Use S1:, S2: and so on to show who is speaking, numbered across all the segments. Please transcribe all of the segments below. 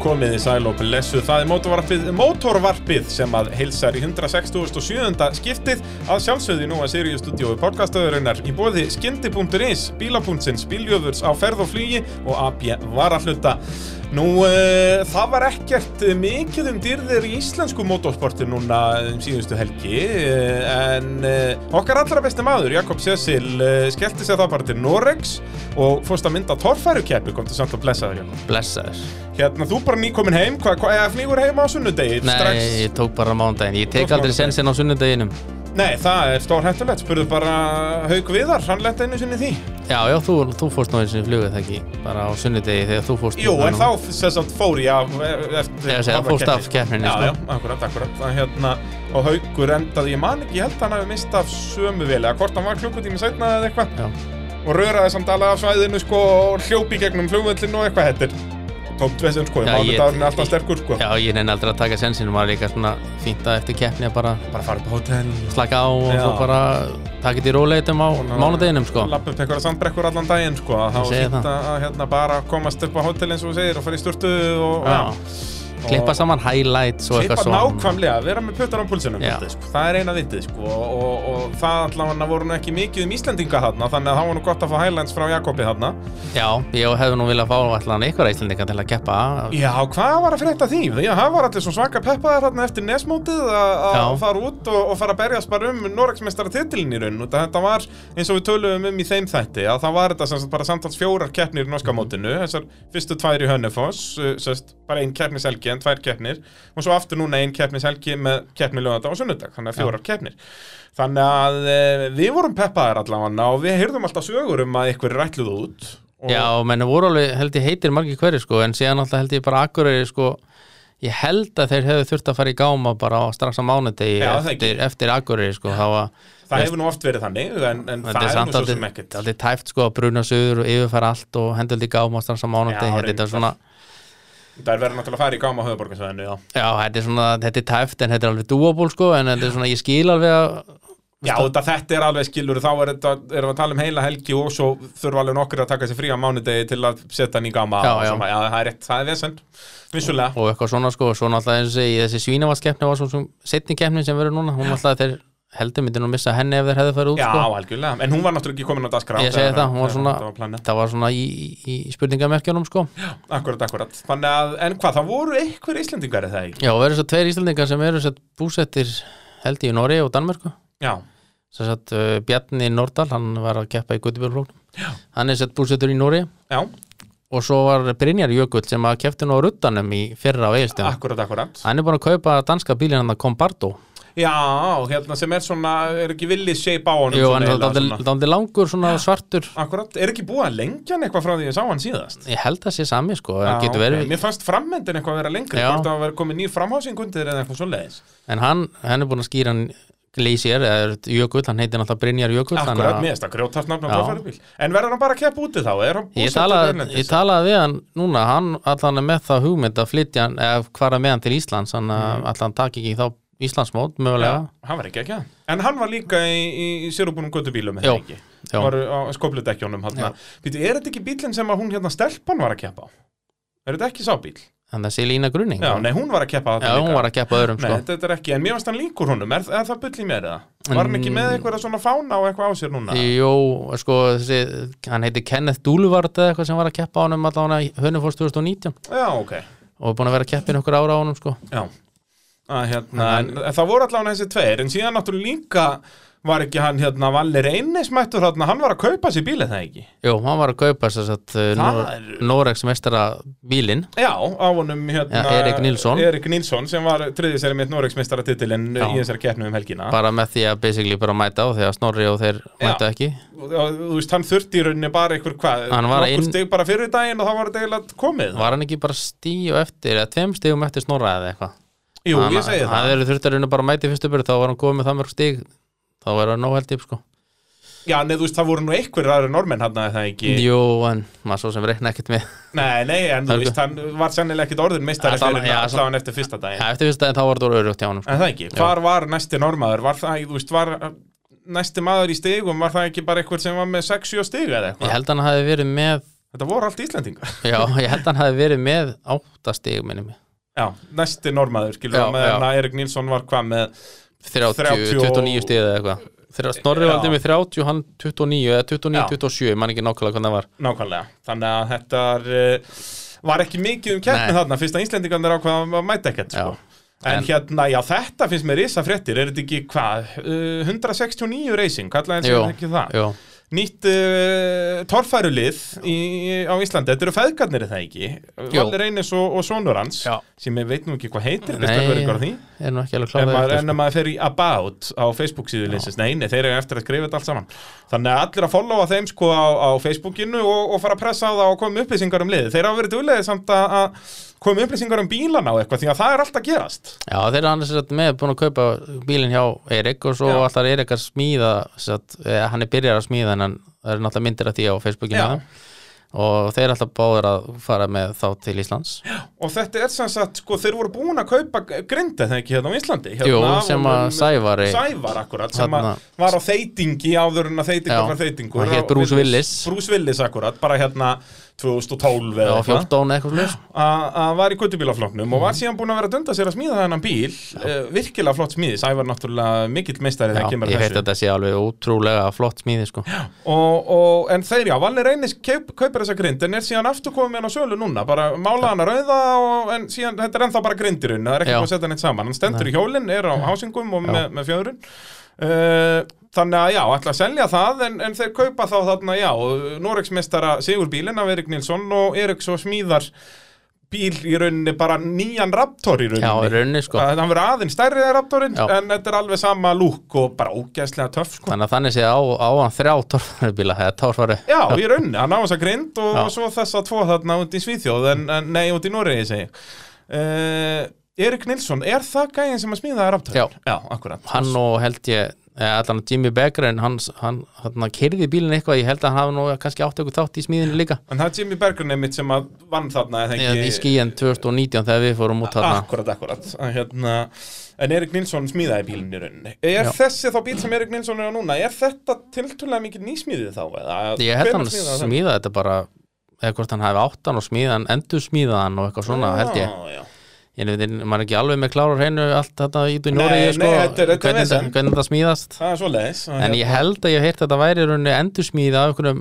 S1: Komið í sæl og blessuð, það er mótorvarpið, mótorvarpið sem að heilsar í 167. skiptið að sjálfsögði nú að Sirius stúdíói podcastöðurinnar í bóði skyndi.is, bílapúntsins, bíljöfurs á ferð og flugi og AB varahluta. Nú, uh, það var ekkert mikið um dyrðir í íslensku motorsporti núna um síðustu helgi, uh, en uh, okkar allra besti maður, Jakob Cecil, uh, skellti sér það bara til Noregs og fórst að mynda torfærukeppi, kom til samt að blessa það hérna.
S2: Blessaður
S1: Hérna, þú bara nýkomin heim, hvað, hva, eða flýgur heim á sunnudegi
S2: Nei,
S1: strax?
S2: ég tók bara mánudaginn Ég tek
S1: Tókst
S2: aldrei
S1: mánudaginn.
S2: sensin á sunnudeginum
S1: Nei, það er stór hættulegt, spurðu bara Hauk Viðar, hann letta einu sinni í því.
S2: Já, já, þú, þú fórst náður sinni flugið það ekki Bara á sunnudegi þegar þú fórst
S1: Jú,
S2: þarna.
S1: en þá sem sagt fór ég af e- eftir...
S2: Ég að segja,
S1: af
S2: fórst
S1: keppni.
S2: af keppninni,
S1: Já,
S2: sko.
S1: já, akkurat, akkurat. Það, hérna, og Haukur endaði, ég man ekki, ég held hann hafi mistað af sömu vel, eða hvort hann var klukkutími sætna eða eitthvað,
S2: Já,
S1: og röraði samt alveg af svæðinu, sko, og hljópi gegnum flugvöllinu og eitthvað hettir. Tómt vesinn, sko,
S2: Já, ég-
S1: mánudagurinn er alltaf sterkur, sko.
S2: já ég nenni aldrei að taka sensin Maður er líka svona fínt að eftir keppni að bara
S1: Bara farið på hótel,
S2: slaka á og
S1: Já.
S2: svo bara taka þetta í róleitum á mánudeginum, sko
S1: lappa upp einhverja sandbrekkur allan daginn sko að
S2: Ég
S1: þá
S2: segi
S1: hýtta
S2: það.
S1: að hérna bara komast upp á hótel eins og þú segir og fara í sturtu og
S2: Já, klippa
S1: Og-
S2: saman highlights og
S1: Klippa
S2: eitthvað svona
S1: nákvæmlega, vera með puttan á pulsinum
S2: Já.
S1: svolítið, sko. Það er eina vitið sko og, og, og það allavega voru nú ekki mikið um Íslendinga þarna þannig að það var nú gott að fá highlands frá Jakobi þarna
S2: Já, ég hefði nú viljað fá allan ykkur æslendinga til að keppa
S1: Já, hvað var að frétta því? Já, það var allir svo svaka peppaðar þarna eftir nesmótið að að
S2: Já.
S1: fara út og, og fara að berjast bara um Noregsmestara titilin í raun og þetta var eins og við töluðum um í þeim þætti að það var þetta sem sagt bara samtals fjórar keppnir í
S2: Mhm.
S1: norska mótinu, þessar fyrstu tvær í Hönnefoss, uh, sest, bara ein keppnishelgi en tvær keppnir og svo aftur núna ein keppnishelgi með keppni lögðanda og sunnudag, þannig að fjórar keppnir Þannig að eh, við vorum peppaðar allavega og við heyrðum alltaf sögur um að ykkur rætluðu út og
S2: Já, menn voru alveg, held ég heitir margir hverju sko, en síðan alltaf held ég bara Akureyri sko, ég held að þeir hefðu þurft að fara í gáma bara á, strax á mánudegi
S1: Já, það
S2: eftir, eftir Akureyri sko, þá var
S1: það hefur nú oft verið þannig en, en það
S2: þetta
S1: er nú svo
S2: aldrei,
S1: sem ekkert
S2: aldrei tæft sko að bruna sögur og yfirfæra allt og hendaldi gáma strax á mánudegi,
S1: Já,
S2: þetta
S1: reyndar.
S2: er svona
S1: Það er verið náttúrulega að fara í gáma höfuborgarsvæðinu, já.
S2: já, þetta er svona, þetta er tæft en þetta er alveg dúaból sko, en þetta er svona, ég skil alveg að
S1: Já, þetta, þetta er alveg skilur, þá er þetta, erum við að tala um heila helgi og svo þurfa alveg nokkur að taka sér frí á mánudegi til að setja hann í gáma.
S2: Já,
S1: og
S2: já.
S1: svona. já. það er rétt, það er vesend, vissulega.
S2: og eitthvað svona sko, og svona alltaf eins og segi, þessi svínavaskeppni var svona setni keppni sem verður núna, hún alltaf þeir heldur myndi nú missa henni ef þeir hefðu farið út
S1: Já,
S2: sko.
S1: algjörlega, en hún var náttúrulega ekki komin á dagskrá.
S2: Ég segi
S1: þegar-
S2: það, hún var
S1: þegar
S2: svona,
S1: þetta var planið.
S2: það var svona í, í, í spurningamerkjunum sko.
S1: Akkurat, akkurat. Þannig að, en hvað, það voru einhver íslendingar eða ekki?
S2: Já, og verður svo tveir Íslandingar sem eru svo búsettir held ég í Nóri og Danmörku.
S1: Já,
S2: Svo satt uh, Bjarni Nordal, hann var að keppa í Gutibjörnflóknum. Hann er sett búsettur í Nóri
S1: já,
S2: og svo var Brynjar Jökull sem að keppti nú á ruttanum í fyrra á Egilstöðum.
S1: akkurat, akkurat.
S2: Hann er búin að kaupa danska bílinn hann að Combardo.
S1: Já, hérna sem er svona, er ekki villið shape á honum?
S2: Jú,
S1: svona
S2: hann er
S1: eiginlega,
S2: dálítið-
S1: svona.
S2: dálítið langur svona svartur.
S1: Akkurat, er ekki búið að lengja hann eitthvað frá því ég sá hann síðast?
S2: Ég held að sé sami sko, en
S1: Já,
S2: getur verið
S1: ok. Mér fannst frammyndin eitthvað að vera lengri
S2: Já.
S1: Hvort að vera komið nýr framhásing undir eða eitthvað svo leiðis
S2: En hann, hann er búin að skýra hann Glacier, eða Jökull, hann heitir náttúrulega Brynjar Jökull. þannig
S1: Akkurat,
S2: að-
S1: mér finnst að grjótast nafnum
S2: Já.
S1: torfærubíl En verður hann bara að keppa úti þá? Er hann
S2: Ég
S1: búsettur
S2: talaði,
S1: erlendis?
S2: ég talaði við hann núna, hann allan er með það hugmynd að flytja hann, eða hvara með hann til Íslands, hann mm. allan takk ekki þá Íslandsmót,
S1: Já,
S2: mögulega.
S1: hann var ekki ekki En hann var líka í, í, í sérubunum göttubílum
S2: Jó, já.
S1: Var á skopludekkjónum
S2: Já.
S1: Býtu, er þetta ekki bílinn sem að hún hérna stelpan var að keppa á? Er þetta ekki sá bíl?
S2: Þannig að Selina Grunning,
S1: Já, nei, hún var að keppa á
S2: já hún var að keppa öðrum,
S1: Nei,
S2: sko.
S1: þetta er ekki, en mér finnst hann líkur honum, er, er það bull í mér eða? Var hann
S2: Mm.
S1: ekki með eitthvað svona fána og eitthvað á sér núna?
S2: Jó, sko, þessi, hann heiti Kenneth Dúluvard eða eitthvað sem var að keppa á honum allan að Hönnufors 2019
S1: Já, ok
S2: og er búin að vera að keppa inn okkur ára á honum, sko.
S1: Já, að, hérna, en, en það voru allavega þessi tveir, en síðan náttúrulega líka var ekki hann, hérna, Vallir Einnes mættur þarna, hann var að kaupa sér bílið það ekki?
S2: Jú, hann var að kaupa þess að Nor
S1: er-
S2: Noregs mestara bílinn,
S1: Já, á honum, hérna,
S2: Já, Erik Nilsson.
S1: Erik Nilsson, sem var þriðið sér mitt Noregsmeistara titilinn
S2: Já.
S1: í þessari keppnu um helgina.
S2: bara með því að basically bara mæta á þegar Snorri og þeir mæta ekki.
S1: Og, og, þú veist, hann þurfti í rauninni bara einhver hvað,
S2: Hann var
S1: nokkur
S2: inn-
S1: stig bara fyrir daginn og þá var þetta eiginlega komið.
S2: Var hann ekki bara stíu eftir eða tveim stíum eftir snorra eða eitthvað?
S1: Jú, ég segi
S2: Hann
S1: það.
S2: verður þurft að reyna bara að mæti fyrstu byrju þá var hann komið með það mörg stíg þá verður hann nóg held upp sko
S1: Já, neðu, þú veist, það voru nú einhverjir aðra normenn hann að það ekki.
S2: Jú, en maður svo sem reikna ekkert með
S1: Nei, nei, en þú
S2: Það er-
S1: veist, hann var sennilega ekkit orðin meistari
S2: Já, það-
S1: fyrir
S2: já,
S1: hann
S2: það-
S1: allavega eftir fyrsta daginn.
S2: ja, Eftir fyrstu daginn þá var það örugt hjá hann sko.
S1: En það ekki, hvar var næsti normaður? Var það, þú veist, var næsti maður í stigum, var það ekki bara eitthvað sem var með 6-7 stig eða
S2: Ég
S1: eitthvað?
S2: held að hann hafi verið með
S1: Þetta voru allt Íslendingar.
S2: Já, ég held að hann hafi verið með áttastig minni mig,
S1: Já, næsti normaður, skilur
S2: Já,
S1: það með
S2: já.
S1: hann að Erik Nilsson var hvað með
S2: 30,
S1: 30 og-
S2: 29 stig eða eitthvað Þegar Snorri
S1: Já.
S2: valdi með 30, hann 29 eða 29,
S1: Já.
S2: 27, ég man ekki nákvæmlega hvernig það var
S1: nákvæmlega. Þannig að þetta er, uh, var ekki mikið um keppni
S2: Nei.
S1: þarna, fyrst að Íslendingarnir ákvaða að mæta ekkert, sko.
S2: Já.
S1: En,
S2: En-
S1: hérna, já, þetta finnst mér risa fréttir, er þetta ekki hvað, uh, 169 racing, kallaði eins
S2: Jú,
S1: og ekki það.
S2: jú,
S1: Nýtt uh, torfærulið í, á Íslandi, þetta eru feðgarnir er það ekki?
S2: Jú.
S1: Valur Reynis og, og Sónur hans,
S2: Já.
S1: sem ég veit nú ekki hvað heitir,
S2: Nei.
S1: best að hverju á því.
S2: er nú ekki sko. alveg
S1: En maður,
S2: kláðið
S1: en að maður fer í About á Facebook síðu linsins, nei, nei, þeir eru eftir að skrifa þetta allt saman Þannig að allir að followa þeim sko á, á Facebookinu og, og fara að pressa á það og koma með upplýsingar um liðið Þeir hafa verið duðlega samt að, að koma með upplýsingar um bílana og eitthvað því að það er alltaf að gerast
S2: Já, þeir eru annars satt, með búin að kaupa bílinn hjá Erik og svo
S1: Já.
S2: allar Erik að smíða satt, eða, hann er byrjar að smíða en hann það eru náttúrulega myndir af því á Facebookinu
S1: Já.
S2: með þeim. og þeir eru alltaf báður að fara með þá til Íslands
S1: Og þetta er sem sagt, sko, þeir voru búin að kaupa grinda þegar ekki hérna á Íslandi hérna,
S2: Jú, sem að
S1: honum-
S2: Sævari
S1: Sævar akkurat, sem
S2: Þarna.
S1: að var á þeitingi áður en að
S2: Já.
S1: þeitingur var þeitingur
S2: Hann hét Bruce Willis.
S1: Bruce Willis akkurat, bara hérna 2012
S2: Já,
S1: eða eitthvað.
S2: 14 eitthvað slags
S1: að að var í guttubílafloknum og
S2: Mhm.
S1: var síðan búin að vera að dunda sér að smíða þennan bíl uh, virkilega flott smíði, Sævar náttúrulega mikill meistari þegar kemur að
S2: Ég veit að
S1: þessu
S2: þetta sé alveg ótrúlega flott smíði sko.
S1: og, og, en þeir já, Valni Reynis kaup, kaupir þessa grind en er síðan aftur komið með hann á sölu núna bara mála hann að rauða og, en síðan þetta er ennþá bara grindirinn, það er ekki
S2: Já.
S1: búin að setja hann eitt saman hann stendur í hjólinn, er á hásingum og með, með fjöðrun uh, Þannig að já, ætla að selja það en, en þeir kaupa þá þarna, já, Noregsmestara Sigurbílinn af Erik Nilsson og Erik svo smíðar bíl í rauninni, bara nýjan Raptor í rauninni.
S2: Já, í rauninni, sko.
S1: Að Hann verður aðeins stærri en Raptorinn,
S2: Já.
S1: en þetta er alveg sama lúk og bara ógæslega töff, sko.
S2: Þannig að þannig sé á, á hann þrjá torfarubíla eða torfaru
S1: Já, í rauninni, hann á þessa grind og
S2: Já.
S1: svo þessa tvo þarna út í Svíþjóð, en, en nei, út í Noregi, segi ég. Uh, Erik Nilsson, er það gæðin sem að smíða
S2: Já.
S1: Raptorinn? Já, akkurat.
S2: Hann og held ég eða allan Jimmy Becker en hann, hann, hann kyrði bílinn eitthvað, ég held að hann hafi nú kannski átt eitthvað þátt í smíðinu líka
S1: En það er Jimmy Bergren einmitt sem að vann þarna, eða
S2: Ég, í skíin 2019 þegar við fórum
S1: Ah,
S2: út þarna
S1: Akkurat, akkurat Að hérna, En Erik Nilsson smíðaði bílinn í rauninni Er
S2: Já.
S1: þessi þá bíl sem Erik Nilsson er á núna Er þetta tiltölulega mikið nýsmíðið þá? Eða,
S2: ég held
S1: hvenær
S2: hann
S1: smíðaði það?
S2: smíða þetta bara eða hvort hann hafi átt hann og smíða hann endur smíða hann og eitthvað svona held ég
S1: Já, já.
S2: ég veit, maður er ekki alveg með klárar hreinu allt þetta í
S1: Nei,
S2: Núri
S1: nei,
S2: sko,
S1: þetta er- þetta Ah, hérna. er
S2: hvernig,
S1: vesen.
S2: þetta- hvernig þetta smíðast
S1: Það er svo leiðis
S2: en ég held að ég hef heyrt að þetta væri í rauninni endur smíða af einhverjum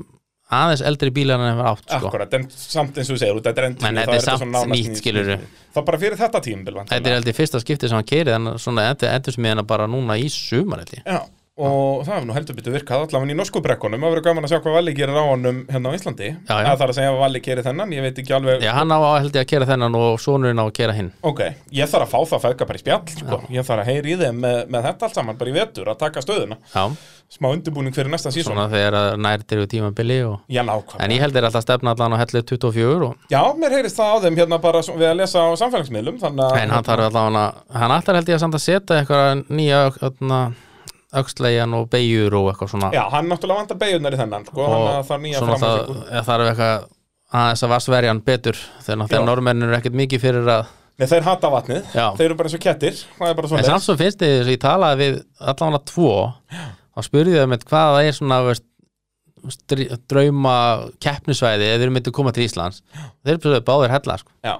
S2: aðeins eldri bílar en hann hefur átt sko.
S1: Akkurat, en samt eins og þú segir, út, þetta er endur
S2: Menn, þetta er samt nýtt, skilurðu.
S1: Það bara fyrir þetta tímbil
S2: þetta er held ég fyrsta skipti sem hann keri þannig að svona endur, endur smíðina bara núna í sumar held ég
S1: Já, og það hefur nú heldur betur virkað allavega í norsku brekkunum, það verður gaman að sjá hvað Valli gerir á honum hérna á Íslandi
S2: Já, já.
S1: Eða Það er að segja að Valli gerir þennan, ég veit ekki alveg
S2: Já, hann á á, held ég að kera þennan og sonurinn á að kera hinn
S1: Ok, ég þarf að fá það fæðka bara í spjall sko. Ég þarf að heyri í þeim með, með þetta allt saman bara í vetur að taka stöðuna
S2: Já,
S1: Smá undirbúning fyrir næsta sísón
S2: svona þegar að nær til tímabili og...
S1: Já, nákvæm
S2: en ég held þeir alltaf stefna allan á hellu 24 og
S1: Já, mér heyrist það á þeim hérna bara svo- við að lesa á samfélagsmiðlum Þannig að
S2: En hann þarf allavega að, hann ætlar held ég að samt að setja eitthvað nýja öðna, öxleigjan og beigjur og eitthvað svona
S1: Já, hann náttúrulega vantar beigjurnar í þennan sko,
S2: og
S1: Hann að það nýja
S2: svona það,
S1: framhansingu
S2: eða þarf eitthvað aðeins að vassverjan betur þegar
S1: Já.
S2: náttúrulega normennir eru ekkert mikið fyrir að
S1: Nei, þeir hata vatnið,
S2: Já.
S1: þeir eru bara eins og kettir Það er bara
S2: en
S1: svona
S2: samt svo finnst þið þess að ég talaði við allavega tvo og spurði þau með hvað það er svona veist, stri- drauma keppnisvæði eða þeir myndu koma til Íslands þeir eru báðir hella sko.
S1: Já.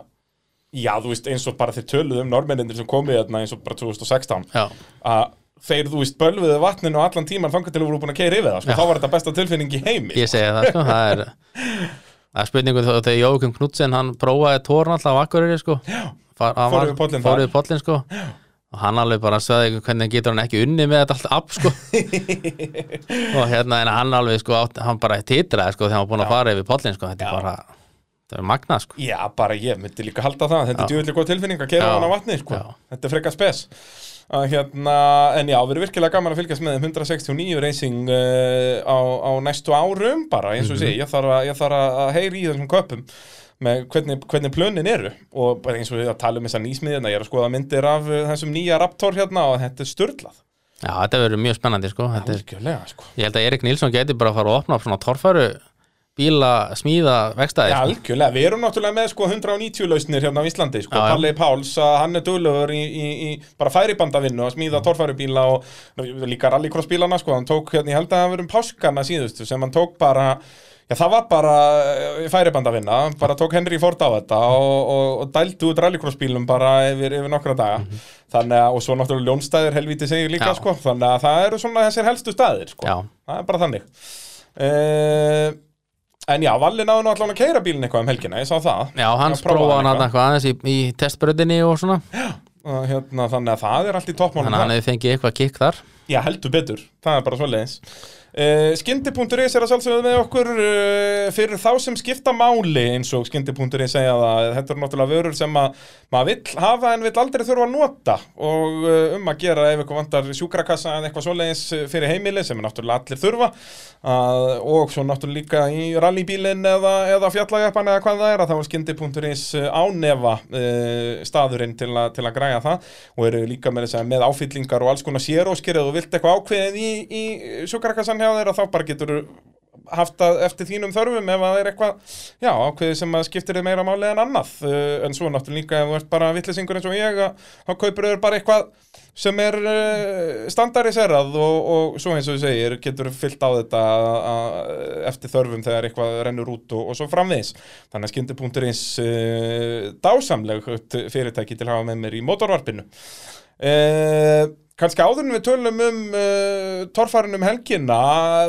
S1: Já, þú veist, eins og bara þeir töluðu um normennindir sem komið hérna eins og bara 2016
S2: Já.
S1: að þeir, þú veist, bölvuðu vatninu og allan tíman þangar til að voru búin að keira yfir það sko.
S2: Já.
S1: þá var þetta besta tilfinning í heimi
S2: ég segi það sko það er, það er spurningu þó- þegar Jókum Knudsen hann prófaði tórn alltaf á Akureyri sko
S1: fór yfir pollinn þar.
S2: fór við pollin sko og hann alveg bara sagði hvernig getur hann ekki unni með þetta allt app sko og hérna en hann alveg sko átt, hann bara titraði sko þegar hann var búin að fara yfir pollin sko þetta
S1: Já.
S2: er bara þetta er magnað sko
S1: Já, bara ég myndi líka halda það Þetta er djúvillig góð tilfinning að keira
S2: Já.
S1: hann á vatni sko.
S2: Já.
S1: Þetta er frekar spes að, hérna, En já, við erum virkilega gaman að fylgjast með þeim 169 racing uh, á, á næstu árum bara eins og mm
S2: Mhm.
S1: ég þarf að, ég þarf að heyri í þessum köpum með hvernig, hvernig plönin eru og bara eins og við að tala um þessa nýsmiðina ég er að skoða myndir af uh, þessum nýja Raptor hérna og þetta er störlað
S2: já þetta verður mjög spennandi sko þetta er,
S1: Algjörlega, sko
S2: ég held að Erik Nilsson geti bara að fara að opna upp svona torfæru bíla smíða vegstæði
S1: Já,
S2: sko.
S1: algjörlega, við erum náttúrulega með sko 190 lausnir hérna á Íslandi, sko,
S2: Já, já.
S1: Palli Páls að hann er dölur í, í, í bara færibandavinnu að smíða torfærubíla og líka rallycrossbílana, sko, hann tók hérna, ég held að það var um páskana síðustu sem hann tók bara Já, það var bara eh, færibandavinna, bara tók Henry Ford á þetta og, og, og dældi út rallycrossbílum bara yfir, yfir nokkra daga. Þannig að, og svo náttúrulega ljónstæður helvíti segir líka,
S2: Mhm. Já.
S1: sko, þannig að það eru svona þessir helstu staðir, sko.
S2: Já,
S1: Það er bara þannig uh, En já, Valli náðu nú allan að keira bílinn eitthvað um helgina, ég sá það
S2: já hans
S1: Já, prófaði
S2: prófaði hann
S1: hann
S2: þarna eitthvað aðeins í, í testbröðinni og svona
S1: og, hérna, Þannig að það er allt í toppmálum
S2: þannig að hann
S1: er...
S2: hefði fengið eitthvað kikk þar
S1: Já, heldur betur, það er bara svoleiðis uh, Skyndi.is er að sjálfsögðu með okkur uh, fyrir þá sem skipta máli eins og Skyndi.is segja það Þetta eru náttúrulega vörur sem að maður vill hafa en vill aldrei þurfa að nota og uh, um að gera ef eitthvað vantar sjúkrakassa eða eitthvað svoleiðis eh, fyrir heimili sem er náttúrulega allir þurfa að, og svo náttúrulega líka í rallybílinn eða, eða fjallagjöpan eða hvað það er að þá er skyndi.is ánefa e, staðurinn til, a, til að græja það og eru líka með, þess að með áfyllingar og alls konar séróskir eða þú vilt eitthvað ákveðið í, í sjúkrakassan hjá þeirra þá bara getur haft það eftir þínum þörfum ef að það er eitthvað, já, ákveðið sem að skiptir þið meira máli en annað, Eh, en svo náttúrulega líka ef þú ert bara vittlisingur eins og ég að- þá kaupir þau bara eitthvað sem er uh, standardiserað og, og svo eins og þú segir getur fyllt á þetta a- a- eftir þörfum þegar eitthvað rennur út og, og svo framvegis. Þannig að skyndi.ins uh, dásamleg fyrirtæki til að hafa með mér í motorvarpinu. Uh, Kanski áður en við tölum um uh, torfærinum helgina,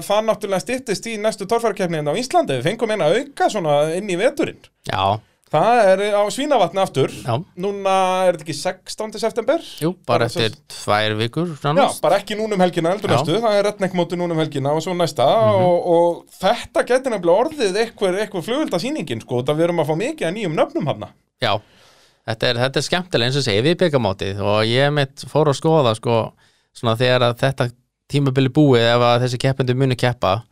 S1: það náttúrulega styttist í næstu torfærikeppniðin á Íslandi, við fengum eina auka svona inn í veturinn.
S2: Já,
S1: Það er á Svínavatni aftur,
S2: já,
S1: núna er þetta ekki 16. september?
S2: jú,
S1: Bara
S2: bara
S1: svo-
S2: eftir tvær vikur
S1: Já,
S2: nánast.
S1: bara ekki núna um helgina heldur
S2: Já. Mhm.
S1: næstu, það er retnek móti núna um helgina og svo næsta og, og þetta getur nefnilega orðið eitthvað, eitthvað flugvöldasýningin sko, það við erum að fá mikið að nýjum nöfnum hafna.
S2: Já, þetta er, þetta er skemmtilega eins og segi við byggamátið og ég mitt fór að skoða sko, svona þegar að þetta tímabili búið ef að þessi keppendur muni keppa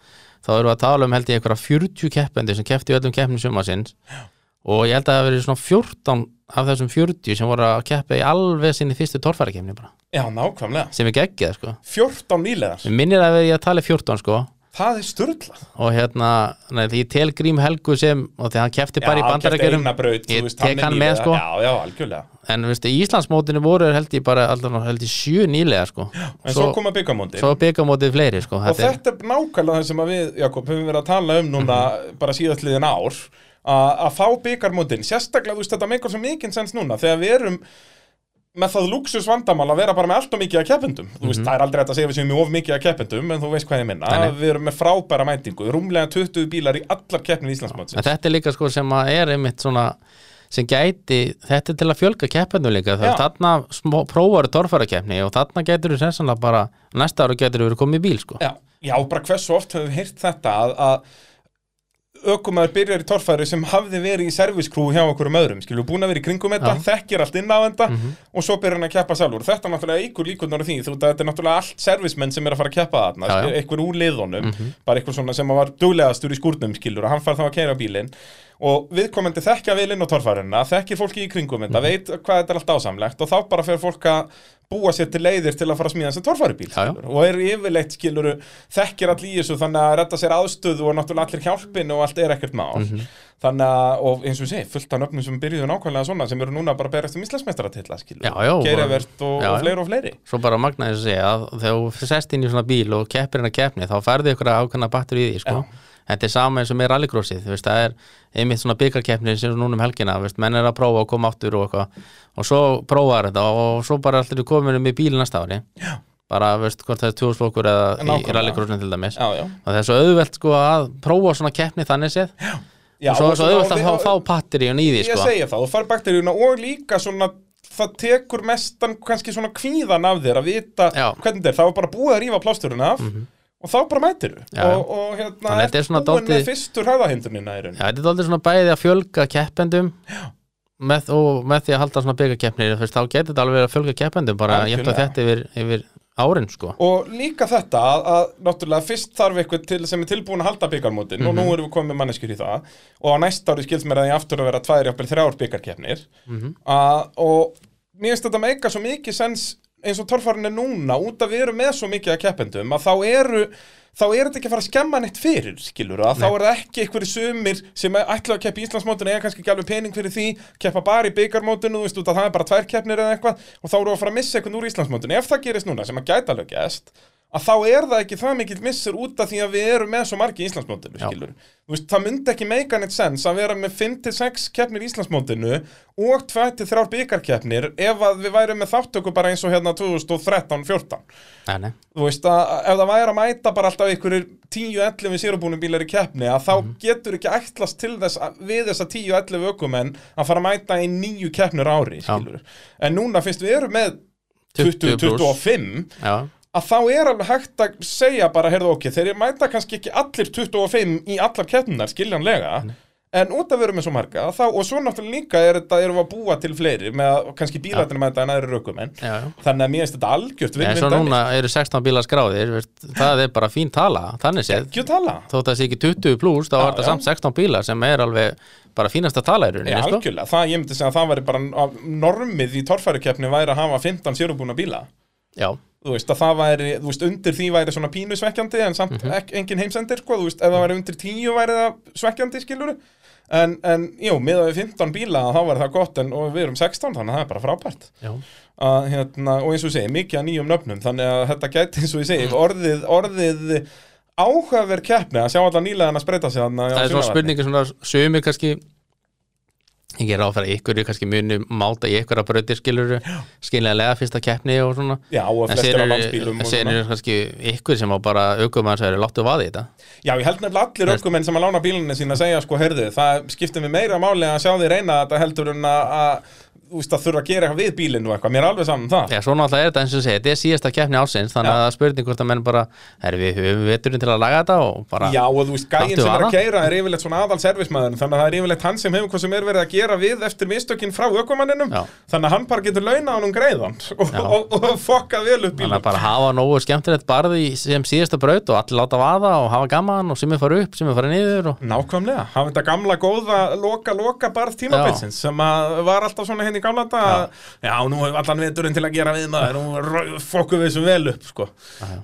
S2: þá erum við að tala um held ég einhverja 40 keppendur sem kepptu í öllum keppnum sumasins og ég held að það hafi verið svona 14 af þessum 40 sem voru að keppa í alveg sinni fyrstu torfærakefni bara
S1: Já, nákvæmlega.
S2: sem er geggið sko
S1: 14 nýleðar,
S2: Mér minnir að verið ég að tala í 14 sko
S1: það er sturglað.
S2: og hérna, nei, því ég tel Grím Helgu sem og því hann kefti bara í bandarækjörum
S1: eina braut, þú
S2: Ég
S1: veist,
S2: tek hann með,
S1: nýliðar.
S2: sko.
S1: Já, já, algjörlega.
S2: en veistu, í Íslandsmótinu voru held ég bara allan held ég sjö nýlega sko.
S1: En svo,
S2: svo,
S1: koma byggamóndir.
S2: svo byggamótið fleiri sko.
S1: og
S2: þetta er,
S1: þetta er nákvæmlega það sem að við, Jakob, höfum verið að tala um núna
S2: Mhm.
S1: bara síðastliðin ár að að fá byggarmótin, sérstaklega þú veist þetta meikur svo mikið sens núna, þegar við erum með það luxus vandamál að vera bara með allt og mikið að keppendum, þú veist, það er aldrei hægt að segja við séum í of mikið að keppendum, en þú veist hvað ég minna
S2: Mhm. Nei, nei.
S1: við erum með frábæra mætingu, rúmlega 20 bílar í allar keppnum í Íslandsmótsins
S2: en þetta er líka sko, sem að er einmitt svona sem gæti, þetta er til að fjölga keppinu líka,
S1: Já.
S2: þannig þarna smó- prófaru torfærakeppni og þarna getur þú sensanlega bara, næsta ára getur þú verið komið í bíl sko.
S1: Já, já, bara hversu oft höfum við heyrt þetta að, að aukumæður byrjar í torfæri sem hafði verið í serviskrú hjá okkur um öðrum, skilur búin að vera í kringum þetta,
S2: Já. Mhm.
S1: þekkir allt inn á þetta og svo byrjar hann að keppa sjálfur. Þetta náttúrulega eigur líkunar á því, þú veit að þetta er náttúrulega allt servismenn sem er að fara að keppa þarna,
S2: Já, Mhm. já.
S1: skilur, einhver úr liðunum, bara einhver svona sem var duglegastur í skúrnum, skilur, og hann far þá að keira bílinn og viðkomandi þekkja vel inn á torfærinna, þekkir fólki í kringum
S2: Mhm.
S1: þetta, veit hvað þetta er allt ásamlegt og þá bara fer fólk að búa sér til leiðir til að fara að smíða þess að torfæribíl
S2: Já, já.
S1: skilurðu, og er yfirleitt skiluru þekkir all í þessu þannig að redda sér aðstöðu og náttúrulega allir hjálpin og allt er ekkert mál
S2: Mhm.
S1: þannig að, og eins og ég segi, fullt af nöfnum sem byrjuðu nákvæmlega svona sem eru núna bara að berast um Íslandsmeistaratitla
S2: Já,
S1: skilur,
S2: já, og-
S1: geirivert og,
S2: Já,
S1: og
S2: já.
S1: fleiri og fleiri
S2: svo bara magnaði þess að segja að þegar þú sest inn í svona bíl og keppir hennar keppni þá færðu ykkur ákveðna battur í því sko. þetta er sama eins og með rallycrossið þú veist, það er einmitt svona byggarkeppni sem er núna um helgina, þú veist, menn er að prófa og koma áttur og eitthvað, og svo prófaður þetta og svo bara allir eru komin um í bíl næsta ári já. bara, þú veist, hvort það er tjóðsflokkur eða í
S1: Nákvæmlega.
S2: rallycrossinu til dæmis
S1: Já, já,
S2: og það er svo auðvelt sko að prófa svona keppni þannig séð,
S1: já
S2: og svo, svo auðvelt að fá, fá
S1: og-
S2: patteríun í
S1: Ég
S2: því sko.
S1: segja það, þú far bakteríuna og líka svona það tekur mestan kannski svona kvíðan af þér að vita
S2: Já. Mhm.
S1: hvernig þetta er, það var bara búið að rífa plásturinn af og þá bara mætir
S2: Já, já.
S1: og, og hérna,
S2: Þannig þetta er
S1: ert
S2: svona
S1: búin með
S2: dálítið-
S1: fyrstur hraðahindunina í raun
S2: Já, þetta er aldrei svona bæði að fjölga keppendum með, og með því að halda svona byggakeppnir þú veist, þá getur þetta alveg verið að fjölga keppendum bara
S1: Algjörlega.
S2: jæmt og þetta yfir, yfir árin sko.
S1: Og líka þetta að, að náttúrulega fyrst þarf eitthvað til sem er tilbúin að halda byggarmótin og nú erum við komið með manneskjur í það og á næsta ári skilst mér að ég aftur að vera tvær jafnvel þrjár byggarkeppnir mm og mér finnst þetta meika svo mikið sens eins og torfarinn er núna út að við erum með svo mikið að keppendum að þá eru þá er þetta ekki að fara að skemma neitt fyrir skilur að þá er það ekki einhverju sumir sem ætla að keppa í Íslandsmótinu eða kannski ekki alveg pening fyrir því keppa bara í byggarmótinu, þú veist út að það er bara tvær keppnir eða eitthvað og þá eru að fara að missa eitthvað úr Íslandsmótinu ef það gerist núna sem að gæta alveg gæst að þá er það ekki það mikill missur út af því að við erum með svo margi í Íslandsmótinu
S2: Já.
S1: skilur. Þú veist, það myndi ekki meika neitt sens að vera með 5-6 keppnir í Íslandsmótinu og 2-3 byggarkeppnir ef að við værum með þáttöku bara eins og hérna 2013-14
S2: Nei, nei,
S1: þú veist að ef það væri að mæta bara alltaf einhverjir 10-11 sérubúnum bílar í keppni að þá
S2: Mhm.
S1: getur ekki ætlast til þess að, við þessa 10-11 ökumenn að fara að mæta í nýju keppnur ári
S2: Já.
S1: skilur. en núna finnst við erum með
S2: 20 plús.
S1: 20-25
S2: já,
S1: að þá er alveg hægt að segja bara, heyrðu ok, þeir mæta kannski ekki allir 25 í allar keppnunar skiljanlega, en út af við erum með svo marga þá, og svo náttúrulega líka er þetta erum við að búa til fleiri með að kannski bílarnir mæta en aðri rökumenn,
S2: já, já.
S1: þannig að mér finnst þetta algjört
S2: Nei, svo
S1: dæmi.
S2: núna eru 16 bílar skráðir veist, það er bara fín tala, þannig séð
S1: ekki að tala
S2: þótt að það sé ekki 20 pluss, þá
S1: Já,
S2: er
S1: já.
S2: það samt 16 bílar sem er alveg bara fínasta tala í
S1: Já,
S2: rauninni, sko
S1: algjörlega, það, ég myndi segja að það væri bara að normið í torfærukeppni væri að hafa 15 sérubúna bíla
S2: Já,
S1: þú veist að það væri, þú veist, undir því væri svona pínu svekkjandi en samt
S2: Mhm.
S1: ek, engin heimsendir sko, þú veist, ef það væri undir 10 væri það svekkjandi skilur en, en jú, miðað við 15 bíla þá væri það gott en og við erum 16 þannig að það er bara frábært
S2: já,
S1: að, hérna, og eins og ég segi, mikið að nýjum nöfnum þannig að þetta gæti eins og ég
S2: Mhm.
S1: segi orðið, orðið áhugaverð keppni að sjá alla nýlega að spreita sig þarna á
S2: það er svona
S1: Sunnavalli.
S2: spurningi svona sumi kannski ég er áfæra ykkur, kannski muni máta í ykkur að brautir skilur skiljanlega fyrsta keppni og svona
S1: Já, og
S2: en
S1: flestir
S2: sér
S1: á
S2: eru
S1: landsbílum og
S2: sér
S1: svona.
S2: eru kannski ykkur sem á bara augum að það eru láttu vaði í þetta
S1: Já, ég held nefnilega allir
S2: Veist-
S1: ökumenn sem að lána bílunni sína að segja, sko, heyrðu, það skiptir mig meira máli að sjá því reyna þetta heldur en að, að þú veist, að þurfa að gera eitthvað við bílinn og eitthvað, mér er alveg saman það.
S2: Já, svona alltaf er þetta eins og ég segi, þetta er síðasta keppni ásins þannig
S1: Já.
S2: að það er spurning hvort að menn bara er við höfum veturinn til að laga þetta og bara
S1: Já, og þú veist, gæinn
S2: Láttu
S1: sem er að
S2: vaða.
S1: keira er yfirleitt svona aðal servismæður, þannig að það er yfirleitt hann sem hefur hvað sem er verið að gera við eftir mistökinn frá ökumanninum,
S2: Já.
S1: þannig að hann bara getur launa honum greiðan og,
S2: Já.
S1: og, og, fokkað vel upp
S2: þannig að
S1: bílinn.
S2: bara hafa nógu skemmtilegt barði sem síðasta braut og allir láta vaða og hafa gaman og sem er fara upp, sem er fara niður og...
S1: Nákvæmlega, hafa þetta gamla góða loka, loka barð tímabilsins sem að var alltaf svona henni gamla þetta já. já, nú hefur allan viturinn til að gera við maður nú fokkum við þessum vel upp sko.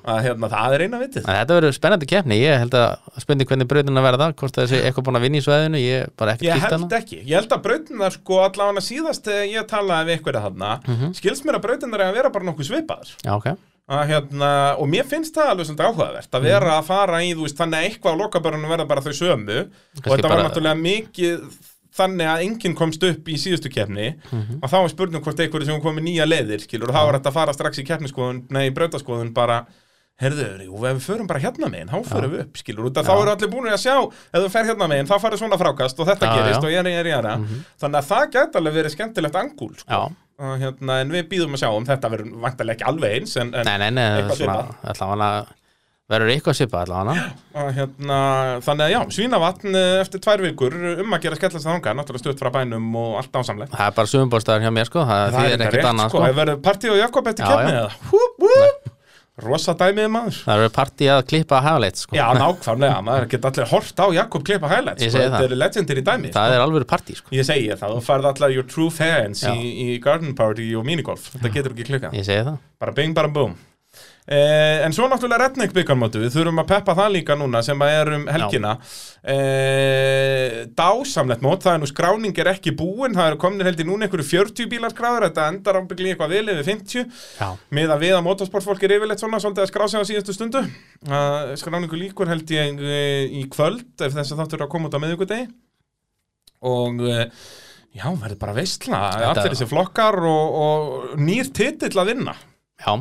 S1: að hérna, það er eina vitið
S2: En þetta verður spennandi keppni, ég held að spurning hvernig brautin að verða, hvort það sé eitthvað búin að vinna í sveðinu, ég er bara ekkert
S1: Ég
S2: kýtt
S1: held
S2: hana
S1: ekki, ég held að brautinar sko allavega síðast þegar ég talaði við einhverja þarna skilst mér að brautinar er að vera bara nokkuð svipaðar
S2: Já, ok,
S1: að, hérna, og mér finnst það alveg svolítið áhugavert að
S2: Mhm.
S1: vera að fara í, þú veist, þannig að eitthvað á lokabörunum verða bara þau sömu og þetta var
S2: bara-
S1: náttúrulega mikið þannig að enginn komst upp í síðustu keppni
S2: Mhm.
S1: og þá er spurning hvort einhverju sem komið nýja leiðir skilur og þá er þetta að fara strax í keppniskoðun nei, í brautaskoðun bara herðu, jú, ef við förum bara hérna megin, þá förum við upp skilur, út að þá eru allir búinir að sjá ef þú fer hérna megin, þá farið svona frákast og þetta
S2: Já,
S1: gerist
S2: já. Mhm.
S1: og jæri, jæri, jæra þannig að það gæti alveg verið skemmtilegt angúl sko.
S2: já,
S1: Og hérna, en við býðum að sjá um þetta verður vantarlega ekki alveg eins en, en
S2: nei, nei, nei,
S1: Eitthvað
S2: svona allavega verður eitthvað svipað allavega
S1: að, hérna, þannig að já, svínavatn eh, eftir tvær vikur um að gera skellast að þanga, náttúrulega stutt frá bænum og allt ásamlega.
S2: Það er bara sumbóstaður hjá mér sko, það, það er ekkert annað sko,
S1: sko. Það verður partí og Jakob eftir
S2: Já,
S1: kemni
S2: já.
S1: eða, húp, húp, rosa dæmið maður.
S2: það verður partí að klippa hafleitt sko,
S1: Já, nákvæmlega, maður geta allir hort á Jakob klippa highlights,
S2: Ég
S1: sko,
S2: segi
S1: þetta
S2: það.
S1: eru legendir í dæmi.
S2: það er alveg partí sko
S1: Ég segi það, þú færð allar your true fans
S2: Já.
S1: í, í garden party og minigolf, þetta getur ekki klikkað.
S2: Ég segi það
S1: bara bing bara boom Eh, en svo náttúrulega Redneck byggarmótu við þurfum að peppa það líka núna sem að er um helgina eh, dásamlegt mót, það er nú skráning er ekki búin, það eru komin held í núna einhverju 40 bílar skráður, þetta endar ábyggli eitthvað vel yfir 50,
S2: Já,
S1: með að við að motorsportfólk er yfirleitt svona, svolítið að skrá sig á síðustu stundu uh, skráningu líkur held ég eh, í kvöld, ef þess að þáttur er að koma út á miðvikudegi og eh, já, verður bara veistla
S2: Þetta-
S1: allir þessi flokkar og, og nýr titill að vinna
S2: já,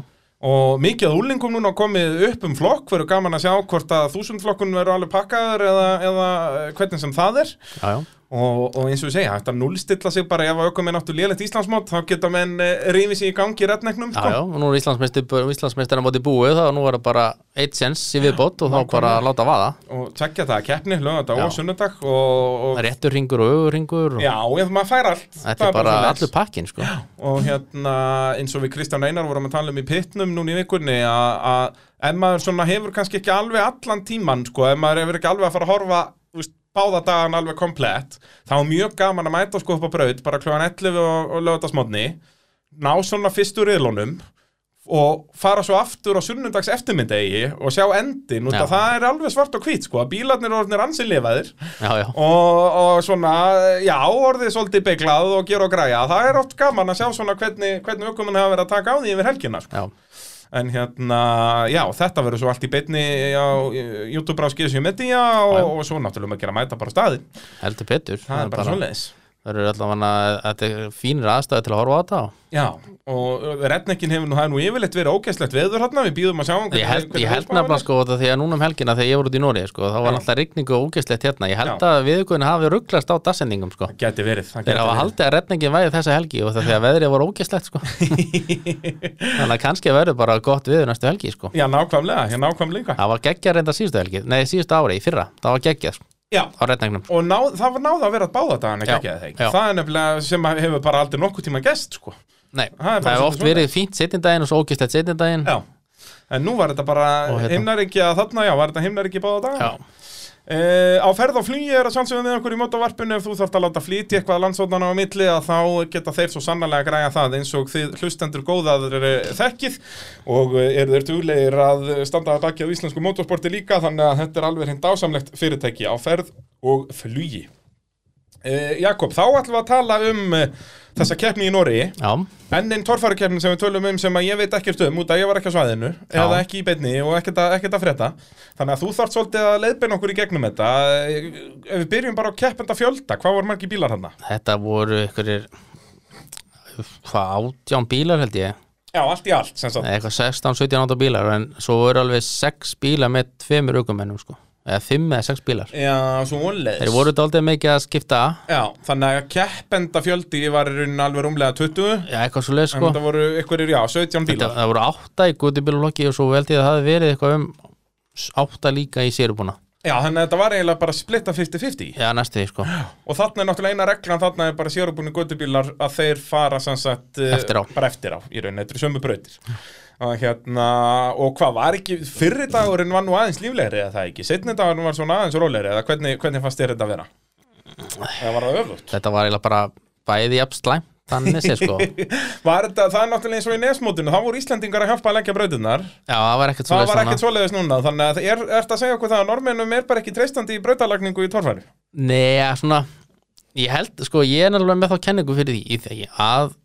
S1: Og mikið að úlingum núna komið upp um flokk, verður gaman að sjá hvort að þúsundflokkun verður alveg pakkaður eða, eða eh, hvernig sem það er.
S2: já, já.
S1: Og, og eins og ég segja, þetta núlstilla sig bara ef að aukum er náttúrulega lélegt Íslandsmót, þá geta menn rífið sér í gangi í sko. retneknum,
S2: Já, já, og nú er Íslandsmeistir- Íslandsmeistarinn móti búið þá nú er það bara eitt sens í viðbót og þá bara láta vaða
S1: Og tekja það að keppni, lögða
S2: Já.
S1: og sunnudag og... og
S2: Réttur ringur og ögur ringur og...
S1: Já, ef maður fær allt
S2: Þetta er bara
S1: svoleiðis.
S2: allur pakkin sko
S1: og hérna eins og við Kristján Einar vorum að tala um í pittnum núna í vikunni að að ef maður svona hefur kannski ekki alveg allan tíman sko, ef maður hefur ekki alveg að fara að horfa þú veist, báða dagan alveg komplett þá er mjög gaman að mæta sko upp á braut bara kljóðan 11 og, og lögða smotni ná svona fyrstu riðlunum og fara svo aftur á sunnundags eftirmyndegi og sjá endin út
S2: Já.
S1: að það er alveg svart og hvít sko, að bílarnir orðnir ansi lifaðir
S2: já, já,
S1: og, og svona, já, orðið svolítið beglað og gera og græja, það er oft gaman að sjá svona hvernig, hvernig ökumenn hafa verið að taka á því yfir helgina sko.
S2: já,
S1: En hérna, já, þetta verður svo allt í beinni á eh, YouTube á Skýrsjö Media og,
S2: Já.
S1: og svo náttúrulega um að gera mæta bara á staðinn. Það,
S2: heldur Petur
S1: er bara svoleiðis.
S2: Það eru allavega þetta er fínir aðstæði til að horfa á þetta
S1: Já, og retnekkin hefur nú, það er nú yfirleitt verið ógæslegt veður hérna, við býðum að sjá um
S2: Ég held, ég held nefnilega sko þetta því að núna um helgina þegar ég voru út í Nóri sko, þá var
S1: Já.
S2: alltaf rigning og ógeðslegt hérna ég held
S1: Já.
S2: að viðugurinn hafi rugglast á dagsendingum sko.
S1: Það geti verið, það
S2: þeir
S1: geti
S2: hafa haldið að retningin væri þessa helgi og það því að veðrið voru ógeðslegt sko. þannig að kannski verður bara gott viður næstu helgi sko.
S1: Já, nákvæmlega, já, nákvæmlega.
S2: það var geggjað reynda síðustu helgi nei síðustu ári í fyrra, það var geggjað sko,
S1: Já,
S2: á retningnum
S1: og ná, það var náða að vera báða dagana,
S2: Já,
S1: ekki að það ekki.
S2: já.
S1: Það er nefnilega sem að hefur bara aldrei nokkuð tíma gest, sko.
S2: nei,
S1: Það er bara
S2: það hefur
S1: svolítið
S2: oft verið fínt setjindaginn og svo ógeðslegt setjindaginn
S1: Já, en nú var þetta bara
S2: Og hérna.
S1: himnaríkja þarna, já, var þetta himnaríkja báða dagana.
S2: Já.
S1: Uh, á ferð og flugi er að sjálfsögum með okkur í mótavarpinu ef þú þarft að láta flýti eitthvað landsóðnana á milli að þá geta þeir svo sannlega græja það eins og þið hlustendur góðaður eh, þekkið og eh, eru þeir duglegir að eh, standa að baki á íslensku mótorsporti líka þannig að þetta er alveg hreint ásamlegt fyrirtæki á ferð og flugi. Uh, Jakob, þá ætlum við að tala um uh, þessa keppni í Noregi
S2: Já.
S1: Enn einn torfærukeppnin sem við tölum um sem að ég veit ekkert um út að ég var ekki á svæðinu eða ekki í beinni og ekkert að, ekkert að frétta þannig að þú þarft svolítið að leiðbeina okkur í gegnum þetta ef við byrjum bara á keppenda fjölda hvað voru margir bílar hann?
S2: þetta voru ykkurir hvað, átján bílar held ég
S1: Já, allt í allt sem sagt
S2: Nei, eitthvað 16, 17, 18 bílar en svo voru alveg 6 bílar með tveimur aukumennum sko. eða 5 eða 6 bílar
S1: Já, svo leis
S2: þeir voru daldið mikið að skipta
S1: Já, þannig að keppenda fjöldi var í rauninni alveg rúmlega 20
S2: já, eitthvað svo leið
S1: en
S2: sko
S1: þetta voru ykkurir, já, 17
S2: Þetta,
S1: bílar
S2: það voru 8 í gutibílulokki og svo held ég að það hafi verið eitthvað um 8 líka í sérubúna
S1: Já, þannig að þetta var eiginlega bara splitta 50-50
S2: já, næstu því sko
S1: og þarna er náttúrulega eina reglan þarna er bara sérubunni gödubílar að þeir fara sem sagt eh,
S2: Eftir á.
S1: bara eftir á í raun, þetta eru sömu brautir og hérna, og hvað var ekki fyrri dagurinn var nú aðeins líflegri eða það ekki, setni dagurinn var svona aðeins rólegri eða hvernig, hvernig fannst þér þetta að vera? eða var það öfugt?
S2: þetta var eiginlega bara bæði jafn slæm þannig sé sko já,
S1: Var þetta, það er náttúrulega eins og í nesmótinu, þá voru Íslendingar að hjálpa að leggja brautirnar
S2: það var ekkert svo
S1: það
S2: leið
S1: var ekkert svoleiðis núna, þannig að er, ert að segja okkur það að norminum er bara ekki treystandi í brautalagningu í torfæru?
S2: Nei, ja, svona ég held, sko, ég er náttúrulega með þá kenningu fyrir því í því að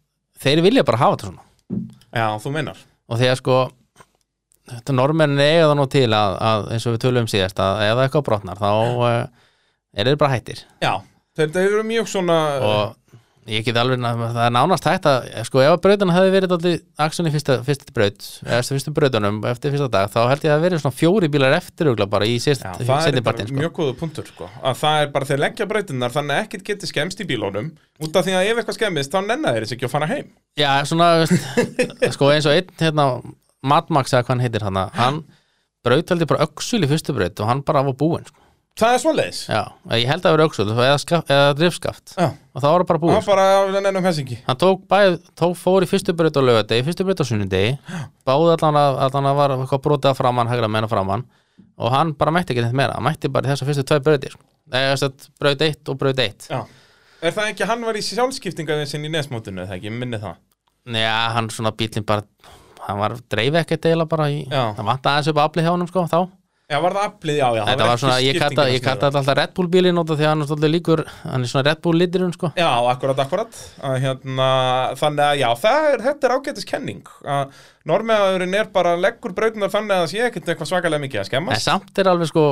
S2: þeir vilja bara hafa þetta svona
S1: Já, þú meinar
S2: og þegar sko þetta normenn eiga það nú til að, að eins og við tölum síðast að ef það eitthvað brotnar þá uh, er þeir bara hættir
S1: Já, þeir, þeir eru mjög svona
S2: og ég get alveg það er nánast hægt að sko ef að brautan hefði verið allir aksun í fyrsta, fyrsta braut eftir fyrstu brautunum eftir fyrsta dag þá held ég að það hafi verið svona fjóri bílar eftir örugglega bara í
S1: Já, það er
S2: setni
S1: bara
S2: partin sko.
S1: mjög góðu punktur sko. að það er bara þeir leggja brautinnar þannig að ekkert geti skemmst í bílónum út af því að ef eitthvað skemmist þá nennar þeir þess ekki að fara heim
S2: já svona veist, sko eins og einn hérna Madmax eða hvað hann heitir hann hann braut held ég bara öksul í fyrstu braut og hann bara var búinn sko.
S1: það er svoleiðis
S2: já, ég held að það verið öksul eða, skaf, eða drifskaft
S1: Já.
S2: og það var það
S1: það
S2: bara búið
S1: er bara að nennum þess ekki
S2: hann tók, bæ, tók fór í fyrstu braut á laugardegi, fyrstu braut á sunnudegi báði allan að, allan að var eitthvað brotið að framann, hægra menna framann og hann bara mætti ekki neitt meira, hann mætti bara í þessar fyrstu tvei brautir, eða þess að braut 1 og braut 1,
S1: Já. er það ekki að hann var í sjálfskiptingaðinsinn í nesmótinu eða ekki, Ég minni það
S2: já hann svona bílinn bara, hann var dreif ekkert eiginlega bara í,
S1: Já.
S2: hann vant aðeins upp aflið hjá honum sko þá,
S1: já, var það aflið, já, já það
S2: þetta var
S1: ekki
S2: svona, ég kalla ég
S1: skiptingarnar-
S2: kalla þetta alltaf Red Bull bílinn út af því að hann er svolítið líkur, hann er svona Red Bull liturinn sko,
S1: Já, akkurat, akkurat að, hérna, Þannig að já, það er, þetta er ágætis kenning að normeðaðurinn er bara leggur brautinnar þannig að það sé ekkert eitthvað svakalega mikið að
S2: en
S1: skemmast
S2: samt er alveg sko,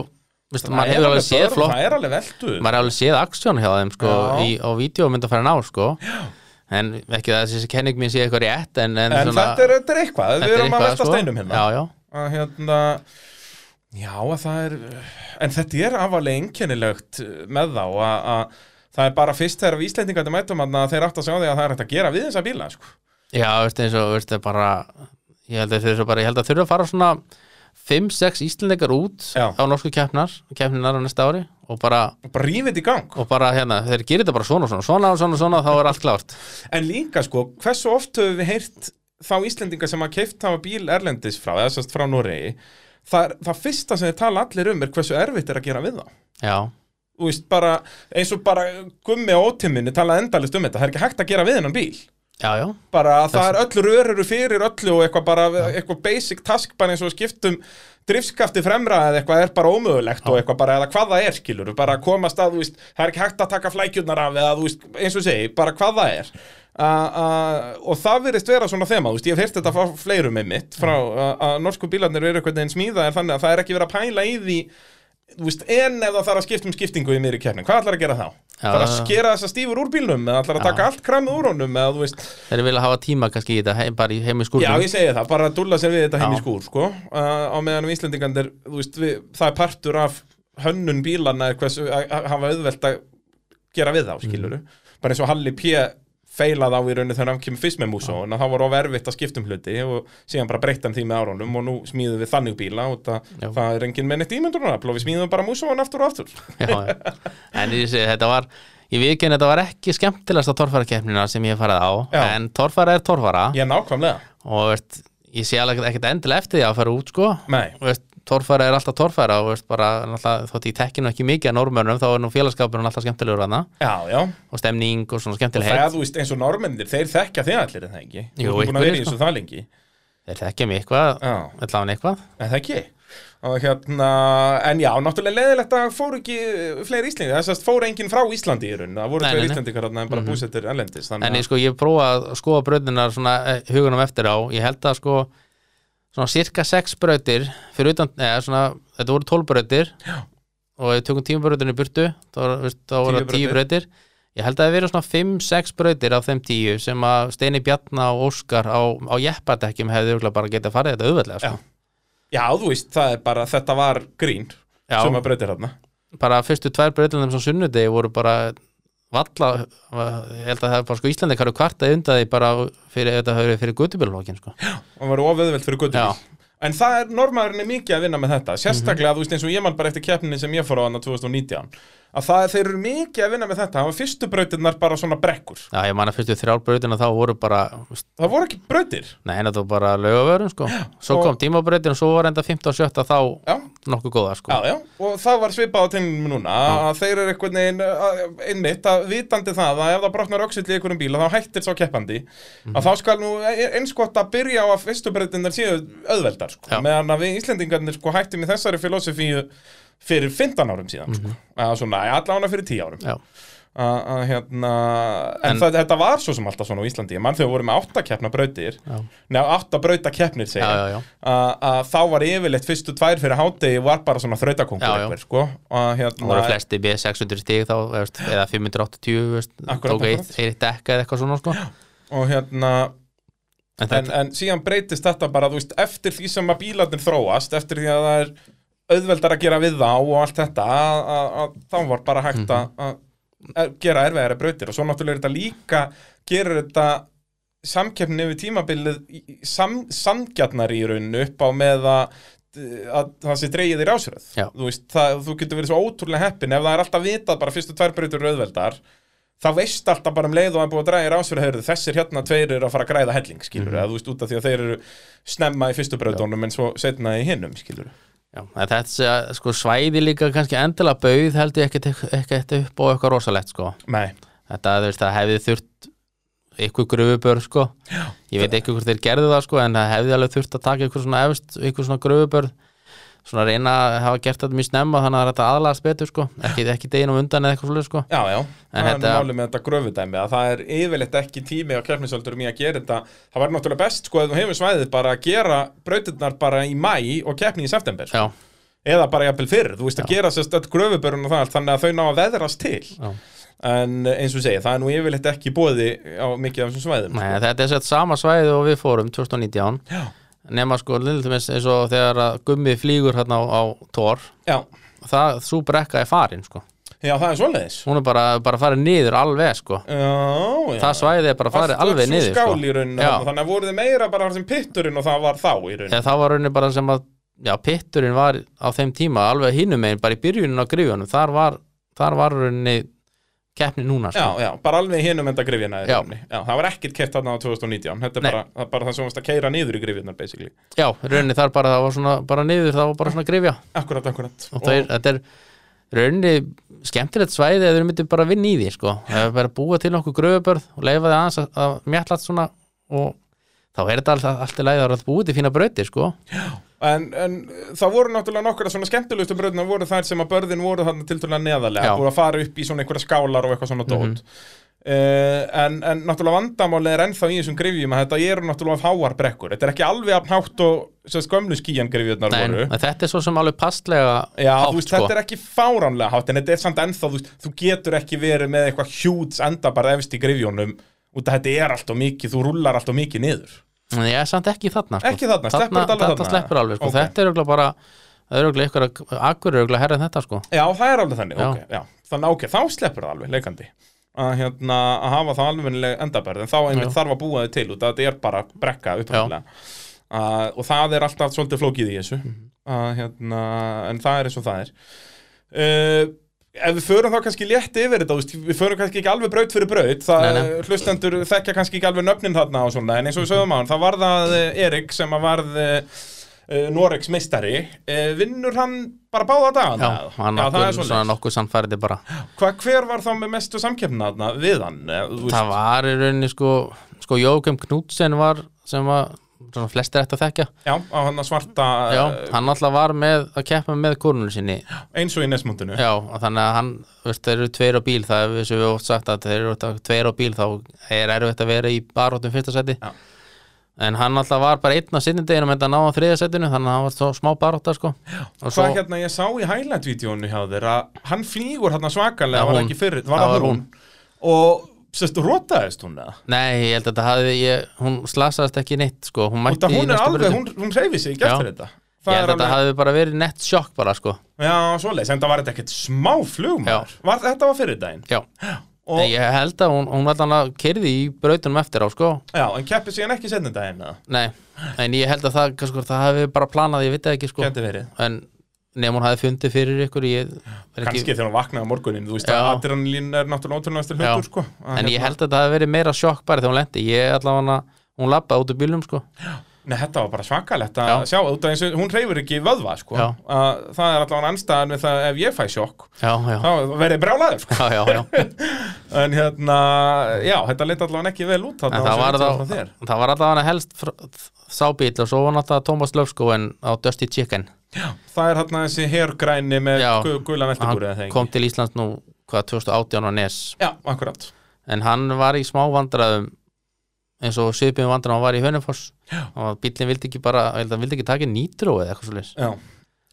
S2: veist,
S1: Það
S2: maður
S1: er
S2: hefur alveg séð
S1: börn,
S2: flott
S1: Það er alveg veldu
S2: maður er alveg séð aksjón hjá þeim sko,
S1: Já.
S2: í, á vídeómyndafærin á sko. en ekki það að þessi kenning mín sé eitthvað rétt en, en,
S1: En
S2: svona,
S1: þetta er, þetta er eitthvað,
S2: þetta
S1: við erum að
S2: eitthvað,
S1: velta
S2: sko.
S1: steinum hérna.
S2: já, já,
S1: Að hérna Já, að það er En þetta er afalega einkennilegt með þá að, að það er bara fyrst þegar við Íslendingandi mætum þarna að þeir átt að sjá því að það er hægt að gera við þessa bíla sko.
S2: já veist, eins og veist, það bara, ég held að þurfa bara ég held að þurfa að fara svona 5-6 íslendingar út
S1: Já.
S2: á norsku keppnar keppninar á næsta ári og bara,
S1: og bara rífið þetta í gang
S2: og bara hérna, þeir gerir þetta bara svona og svona, svona og svona, og svona þá er allt klárt
S1: En líka sko, hversu oft höfum við heyrt þá Íslendinga sem að keift hafa bíl erlendis frá, eða sérst frá Noregi það, er- það fyrsta sem þið tala allir um er hversu erfitt er að gera við þá
S2: já,
S1: Þú veist, bara, eins og bara gummi á ótiminni tala endalist um þetta, það er ekki hægt að gera við hennan bíl
S2: já, já,
S1: bara að það er öll röruru fyrir öllu og eitthvað bara, eitthvað basic task bara eins og að skiptum drifskafti fremra eða eitthvað er bara ómögulegt og eitthvað bara, eða hvað það er skilur bara að komast að, þú veist, það er ekki hægt að taka flækjurnar af eða, þú veist, eins og ég segi, bara hvað það er a, a, og það virðist vera svona þema, þú veist, ég hef heyrt þetta frá fleirum með mitt, frá a- að norsku bílarnir eru eitthvað einn smíða en þannig að það er ekki verið að pæla í því þú veist, en ef það þarf að skipta um skiptingu í miðri keppnin, hvað ætlar að gera þá?
S2: Já.
S1: Þarf að skera þessa stífur úr bílnum eða ætlar að taka allt kramið úr honum eða, þú veist,
S2: þeir vilja hafa tíma kannski í þetta heim, bara í heim í
S1: Já,
S2: skúrnum
S1: ég segi það, bara að dúlla sér við þetta heim í
S2: Já.
S1: skúr, sko uh, á meðan við Íslendingandir, þú veist, við, það er partur af hönnun bílana er hversu, að að hafa auðvelt að gera við
S2: Mhm.
S1: þá, skiluru bara eins og Halli P. feilað á í rauninu þegar hann kemur fyrst með músón að það var of erfitt að skipta um hluti og síðan bara breytta hann því með árunum og nú smíðum við þannig bíla og það,
S2: Já.
S1: það er engin með neitt ímyndunarafl og við smíðum bara músón aftur og aftur
S2: já, já. en ég segi, þetta var ég viðkynni þetta var ekki skemmtilegasta torfarakeppnina sem ég hef farið á,
S1: Já.
S2: en torfara er torfara
S1: Ég nákvæmlega,
S2: og veist, ég sé alveg ekkert endilega eftir því að fara út sko
S1: nei,
S2: Þú veist, torfæra er alltaf torfæra og veist, bara, náttúrulega, þótt ég tekkinu ekki mikið að normörnum þá er nú félagskapurinn alltaf skemmtilegur hana
S1: já, já
S2: og stemning og svona
S1: og
S2: skemmtileg
S1: það,
S2: heit
S1: þú veist, eins og normennir, þeir þekka þig allir er það ekki,
S2: Jú,
S1: þú ert búin að vera
S2: einhverjir,
S1: í
S2: sko.
S1: þessu það lengi
S2: þeir þekkja mig eitthvað,
S1: Já.
S2: allavega eitthvað
S1: En það ekki og hérna, en já, náttúrulega leðilegt að fóru ekki eh, fleiri Íslandi þess að fóru enginn frá Íslandi í raun það voru
S2: Nei,
S1: tveir
S2: nei, nei.
S1: Íslandikar þarna en bara mm -hmm. búsettir ellendis þannig
S2: en ég
S1: að
S2: sko, ég prófa að skoða brautirnar svona eh, hugunum eftir á, ég held að sko svona cirka sex brautir fyrir utan, eða svona, þetta voru 12 brautir
S1: Já.
S2: og ef við tökum tíu brautinu í burtu þá voru- veist, þá voru
S1: Tíu
S2: það 10 brautir ég held að það hafi verið svona 5-6 brautir af þeim 10 sem að Steini Bjarna og Óskar á, á jeppadekkjum hefði örugglega bara getað farið þetta auðveldlega sko.
S1: já, þú veist, það er bara, þetta var grín
S2: Já.
S1: sem að breytir þarna
S2: bara fyrstu tvær brautirnum sem sunnudegi voru bara valla, ég held að það er bara sko Íslandi hverju kvartaði undan því bara fyrir, þetta hafi verið fyrir gutubílflokkin sko.
S1: og var ofiðveld fyrir
S2: Já. Mhm.
S1: guttum en það er, normaðurinn er mikið að vinna með þetta sérstaklega, þú veist, eins og ég man bara eftir keppninni sem ég fór á hann 2019 að það, er- þeir eru mikið að vinna með þetta, það var fyrstu breytirnar bara svona brekkur,
S2: Já, ég man að fyrstu þrjár brautina þá voru bara
S1: það voru ekki breytir
S2: neina þú bara lögavörun sko svo
S1: og-
S2: kom tímabrautin og svo var enda 15 og 17 þá
S1: já,
S2: nokkuð góða sko
S1: Já, já, og það var svipað á tennum núna að þeir eru einhvern veginn að- einmitt að vitandi það að ef það brotnar öxull í einhverjum bíla þá hættir sá keppandi að þá skal nú e, eins gott að byrja á að fyrstu breytinnar séu auðveldar sko,
S2: Já.
S1: meðan að við Íslendingarnir sko hættum í þessari filosofíu fyrir 15 árum síðan sko, að svona, allána fyrir 10 árum
S2: Já.
S1: að að hérna en,
S2: En-
S1: það, þetta var svo sem alltaf svona á Íslandi ég mann þegar við vorum með 8 keppna brautir
S2: Já.
S1: neða 8 brauta keppnir segja
S2: Já, já, já.
S1: að þá var yfirleitt fyrstu tvær fyrir hátegi var bara svona þrautakongur
S2: Já, já.
S1: einhver, sko. að
S2: Það voru
S1: hérna,
S2: flesti við 600 stig þá veist, eða 580 veist,
S1: Akkurat,
S2: tók eitt,
S1: akkurat.
S2: eitt dekka eða eitthvað svona sko.
S1: og hérna
S2: en
S1: en,
S2: þetta,
S1: en síðan breytist þetta bara þú veist, eftir því sem að bílarnir þróast eftir því að það er auðveldar að gera við þá og allt þetta að, að, að, þá var bara hægt að, að gera erfiðari brautir og svo náttúrulega er þetta líka gerir þetta samkeppnin yfir tímabilið í- í- sam, samgjarnar í rauninu upp á með að að það sé dreigið í rásröð
S2: Já.
S1: þú, veist, það, þú getur verið svo ótrúlega heppin ef það er alltaf vitað bara fyrstu tvær brautur eru auðveldar þá veist alltaf bara um leið og hann búið að draga í rásfyrir heyrðu, þessir hérna tveir eru að fara að græða helling skilur,
S2: Mhm.
S1: eða þú veist út af því að þeir eru snemma í fyrstu brautónum en svo setna í hinnum skilur,
S2: já, en þetta sko, svæði líka kannski endilega bauð held ég ekkert ekkert upp og eitthvað rosalegt sko.
S1: nei,
S2: þetta þú veist, það hefði þurft ykkur gröfubör sko. ég veit ekki hvort þeir gerðu það sko, en það hefði alveg þurft að taka ykkur svona, efst, ykkur svona gröfubör svona reyna að hafa gert þetta mjög snemma þannig að þetta aðlagast betur sko. ekki, ekki deginum undan eða eitthvað svolítið sko.
S1: já já það er nú
S2: þetta-
S1: málið með þetta gröfudæmi að það er yfirleitt ekki tími á keppnisöldurum í að gera þetta það var náttúrulega best sko að þú hefur svæðið bara að gera brautirnar bara í mæ og keppni í september,
S2: já,
S1: eða bara jafnvel fyrr þú veist að gera sérst öll gröfubörun og það allt, þannig að þau ná að veðrast til
S2: já.
S1: en eins og ég segi, það er nú yfirleitt ekki bóði á mikið af þessum svæðum
S2: Nei, þetta er sett sama svæði og við fórum 2019
S1: Já.
S2: nema sko lilltumis eins og þegar að gummi flýgur hérna á, á tór
S1: Já,
S2: það, svo brekka er farin sko
S1: já, það er svoleiðis
S2: hún er bara, bara farin niður alveg sko
S1: Já, já.
S2: það svæði er bara farin alveg
S1: niður
S2: niður
S1: skál í
S2: sko.
S1: rauninu
S2: Já.
S1: þarna, þannig að voru þið meira bara þar sem pitturinn og það var þá í rauninu
S2: Eða það var raunin bara sem að já, pitturinn var á þeim tíma alveg hinum megin bara í byrjunin á grifjónum þar var, þar var raunin keppni núna
S1: já,
S2: sko.
S1: já, bara alveg hinum enda grifjana í
S2: Já.
S1: rauninni. já, það var ekkert keft þarna á 2019 þetta er
S2: Nei.
S1: bara, það er bara það sem varst að keira niður í grifjarnar basically,
S2: já, raunin þar bara það var svona bara niður, það var bara svona grifja
S1: akkurat, akkurat
S2: og þeir, þetta er raunni skemmtilegt svæði eða þau myndir bara vinna í því sko. eða bara búa til okkur gröfubörð og leifa því aðeins að, að mjallast svona og þá er þetta alltaf allt í lagi að búa til fína brautir sko.
S1: En, en uh, það voru náttúrulega nokkra svona skemmtilegustu bröðna voru þær sem að börðin voru þarna tiltölulega neðarlega
S2: Já.
S1: og að fara upp í svona einhverja skálar og eitthvað svona dót
S2: Mhm.
S1: uh, en, en náttúrulega vandamálið er ennþá í þessum grifjum að þetta eru náttúrulega af háar brekkur þetta er ekki alveg af hátt og sem sagt, gömlu skíjan grifjurnar
S2: Nei,
S1: voru
S2: en þetta er svo sem alveg passlega
S1: Já,
S2: hátt,
S1: þú veist,
S2: sko.
S1: þetta er ekki fáránlega hátt en þetta er samt ennþá, þú veist, þú getur ekki verið með eitthvað hjúts endabar efst í grifjónum út að þetta er allt og mikið, þú rullar allt og mikið niður
S2: Nei, ég er samt ekki þarna sko.
S1: Ekki þarna, sleppur þetta alveg þarna?
S2: Þetta sleppur alveg, sko.
S1: Ok.
S2: þetta er örugglega bara Það er örugglega ykkur akkur er örugglega herra en þetta sko.
S1: Já, það er alveg þannig,
S2: Já.
S1: ok, já Þannig, ok, þá sleppur það alveg, leikandi að, hérna, að hafa það alveg endabar en þá einmitt
S2: Já.
S1: þarf að búa þið til út að þetta er bara brekka upphæmlega uh, og það er alltaf svolítið flókið í þessu
S2: Mhm.
S1: uh, hérna, en það er eins og það er uh, Ef við förum þá kannski létt yfir þetta, þú veist, við förum kannski ekki alveg braut fyrir braut, það
S2: Nei, nei.
S1: hlustendur þekkja kannski ekki alveg nöfnin þarna og svona, en eins og við sögum á hann, það var það eh, Erik sem að varð uh, Noregs meistari, uh, vinnur hann bara báða dagana?
S2: Já, hann
S1: Já, það
S2: okkur,
S1: er
S2: svona
S1: svona.
S2: nokkuð sannfærið bara
S1: Hva, hver var þá með mestu samkeppna þarna við hann? eh, þú veist?
S2: Það var í rauninni sko, sko Jókum Knútsen var sem var svona flestir ætti að þekkja
S1: Já, á hann að svarta,
S2: Já,
S1: eh,
S2: hann alltaf var með að keppa með konunni sinni
S1: eins og í nesmundinu.
S2: Já, og þannig að hann, veist, þeir eru tveir á bíl það er þessu við oft sagt að þeir eru alltaf tveir á bíl þá er erfitt að vera í baróttum fyrsta seti
S1: Já.
S2: en hann alltaf var bara einn á sinni deginum en það náða þriða setinu þannig að hann var svo smá baróta sko. og
S1: Hvað hérna, ég sá í highlight-vídeónu hjá þér að hann flýgur hérna svakalega,
S2: Já,
S1: var það
S2: hún.
S1: ekki fyrir, var
S2: Það
S1: það
S2: var
S1: hún. Og, sérstu, rótaðist hún eða?
S2: Nei, ég held að þetta hafði, ég, hún slasaðist ekki neitt sko, hún
S1: Þetta
S2: mætti í
S1: hún er
S2: næstu
S1: alveg,
S2: brautu.
S1: hún, hún reyfi sig ekki
S2: Já.
S1: eftir þetta.
S2: Ég
S1: Það er
S2: held að þetta
S1: alveg,
S2: hafði bara verið nett sjokk bara sko
S1: já, svoleiðis, en það var þetta ekkert smá flugmaður. Var, þetta var fyrir daginn.
S2: Já,
S1: Og,
S2: Nei, ég held að hún, hún var þannig að kerði í brautunum eftir á sko
S1: Já, en keppi sig hann ekki setna daginn eða?
S2: Nei, en ég held að það, sko, það hafi bara planað, ég veit það ekki sko
S1: Gæti verið.
S2: En nefn hún hafi fundið fyrir ykkur, ég er
S1: Kanski þegar hún vaknaði á morgunin, þú veist
S2: Já.
S1: að adrenalín er náttúrulega ótrúlega
S2: Já.
S1: hlutur, sko. Að
S2: En
S1: hérna-
S2: ég held að það hafi verið meira sjokk bara þegar hún lendi Ég allavega hann hún labbaði út úr bílum sko
S1: Nei, þetta var bara svakalegt að
S2: Já.
S1: sjá, út af eins og hún reyfur ekki vöðva, sko.
S2: Já.
S1: Að, það er allavega anstæðan við það ef ég fæ sjokk,
S2: Já, já,
S1: þá verði brjálaður, sko.
S2: já, já, já.
S1: En hérna, já, þetta leit allavega ekki vel út þarna á
S2: En
S1: þessu
S2: það var,
S1: myndinni
S2: þá,
S1: frá þér.
S2: það var allavega helst fr- sá bíl og svo var náttúrulega Thomas Löfskóen á Dusty Chicken
S1: Það er hérna þessi hergræni með
S2: Já.
S1: gu- gula veltibúrið, eða
S2: Hann
S1: það
S2: kom til Íslands nú hvað 2018 á Nes
S1: Já, akkurat.
S2: en hann var í smá vandræðum eins og sviðbjörn vandræðum hann var í Hönefoss
S1: Já.
S2: og bílinn vildi ekki bara, ég held að hann vildi ekki taka nýtró eða eitthvað svo leis
S1: Já.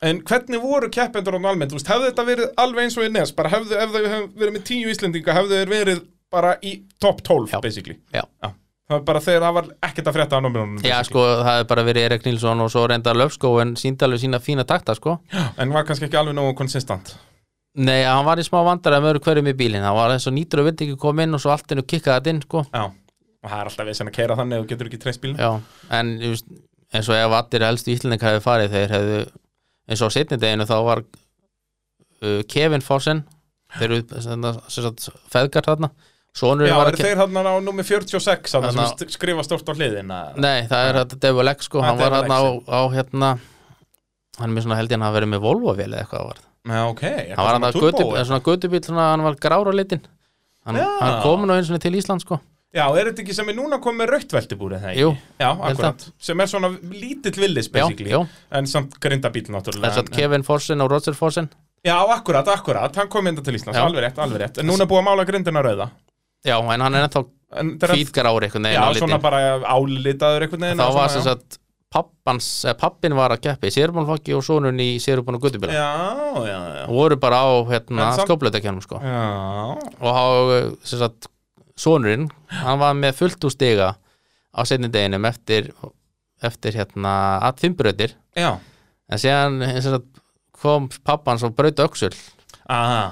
S1: En hvernig voru keppendur án almennt? Þú veist, hefði þetta verið alveg eins og í nes? Bara hefðu, ef þau hefðu verið með tíu Íslendinga, hefðu þeir verið bara í top 12,
S2: Já.
S1: basically.
S2: Já.
S1: Það var bara þegar það var ekkert að frétta á námið
S2: Já sko, það hefði bara verið Erik Nilsson og svo reynda Löfskó en síndi alveg sína fína takta sko
S1: En var kannski ekki alveg nógu konsistant.
S2: Nei, hann var í smá vandræðum öðru hverjum í bílinn hann var eins og nýtró vildi ekki koma inn og svo allt innu kikkaði þetta inn sko
S1: Já. Og það er alltaf vesen að keira þannig ef þú getur ekki treyst bílinn.
S2: Já, en ég veist, eins og ef allir helstu íslendingar hefði farið þeir hefðu eins og á setni deginu þá var uh, Kevin Fossen þeir eru sem sagt, feðgar þarna Sónur
S1: Já,
S2: var
S1: eru
S2: að
S1: þeir hann á nummi 46 að
S2: Þarna-
S1: sem skrifa stórt á hliðina?
S2: Nei, það er þetta Devil X
S1: Það
S2: sko,
S1: er
S2: hann var
S1: Ah, Devil
S2: þarna á, á hérna hann er mér svona held ég að hann hafi verið með Volvo-vél eða eitthvað var
S1: Já, ok. Er
S2: hann var
S1: það
S2: hann
S1: svona turbo,
S2: götu,
S1: eða?
S2: svona götubíl svona, hann var grára litin hann,
S1: Já.
S2: hann kom nú eins og til Ísland sko
S1: Já, er þetta ekki sem er núna komið með rautveltibúrið það ekki?
S2: Jú,
S1: Já,
S2: held
S1: akkurat. Sem er svona lítill villis,
S2: já,
S1: basically.
S2: já,
S1: En samt grindabíl, náttúrulega.
S2: þess að Kevin Forsen og Roger Forsen
S1: Já, akkurat, akkurat. Hann kom ynda til Íslands,
S2: Já.
S1: alveg rétt, alveg rétt. En núna er búið að mála grindina rauða.
S2: já, en hann er ennþá
S1: En þetta er að-
S2: hvítgrári einhvern veginn
S1: Já,
S2: á
S1: svona
S2: litin
S1: bara álitaður einhvern veginn.
S2: þá
S1: og
S2: var
S1: svona,
S2: sem sagt pappans, eða pappin var að keppa í sérbónflokki og sonun í sérbón og
S1: Já,
S2: guttubila
S1: já, já. já.
S2: og voru bara á hérna,
S1: En samt-
S2: skóplautakjánum sko.
S1: Já,
S2: og há, sem sagt, sonurinn hann var með fullt úr stiga á setni deginum eftir, eftir hérna, að fimmbröðir
S1: já.
S2: en síðan sem sagt, kom pappans og braut öxul
S1: Aha.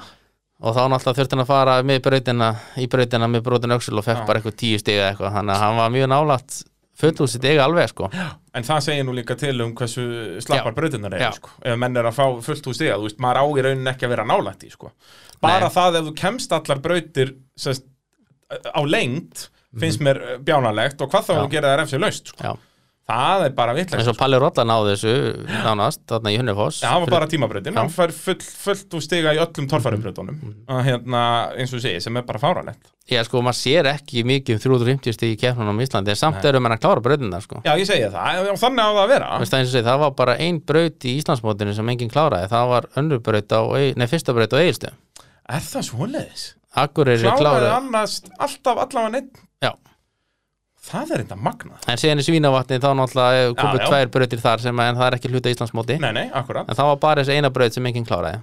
S2: og þá náttúrulega þurfti hann að fara með brautina, í brautina með brotin öxul og fekk
S1: Já.
S2: bara eitthvað tíu stiga eitthvað þannig að hann var mjög nálægt fullt úr stiga alveg sko.
S1: En það segir nú líka til um hversu slappar
S2: Já.
S1: brautinnar eru,
S2: Já.
S1: sko. Ef menn er að fá fullt úr stiga, þú veist, maður á í rauninni ekki að vera nálætt í, sko. Bara
S2: Nei.
S1: það ef þú kemst allar brautir sest, á lengt, finnst mér eh, bjánalegt og hvað þá
S2: Mhm. Já.
S1: að gera þær ef sér laust, sko.
S2: Já.
S1: það er bara vitlega
S2: eins og Palli Rolla náði þessu nánast, þarna í Hunnefoss
S1: Já, það var bara tímabrautin,
S2: Já. Mm.
S1: hann fær full, fullt úr stiga í öllum torfærubrautunum og hérna, eins og ég segi, sem er bara fáránlegt
S2: Já, sko, maður sér ekki mikið um 350 stík í keppnunum á Íslandi en samt eru menn að klára brautina, sko
S1: Já, ég segi það, og þannig á það að vera
S2: Veist, það, eins og segir, það var bara ein braut í Íslandsmótinu sem enginn kláraði, það var önnur braut á, Ey- nei, fyrsta braut á Egilstu
S1: Er það svoleiðis?
S2: Akureyri
S1: Kláraði
S2: kláraði,
S1: annars alltaf allavega neitt
S2: já
S1: Það er þetta magnað
S2: En síðan í Svínavatni þá náttúrulega eh, komu
S1: já.
S2: tvær brautir þar sem að- en það er ekki hluta Íslandsmóti
S1: Nei, nei, akkurat
S2: En það var bara þessi eina braut sem enginn kláraði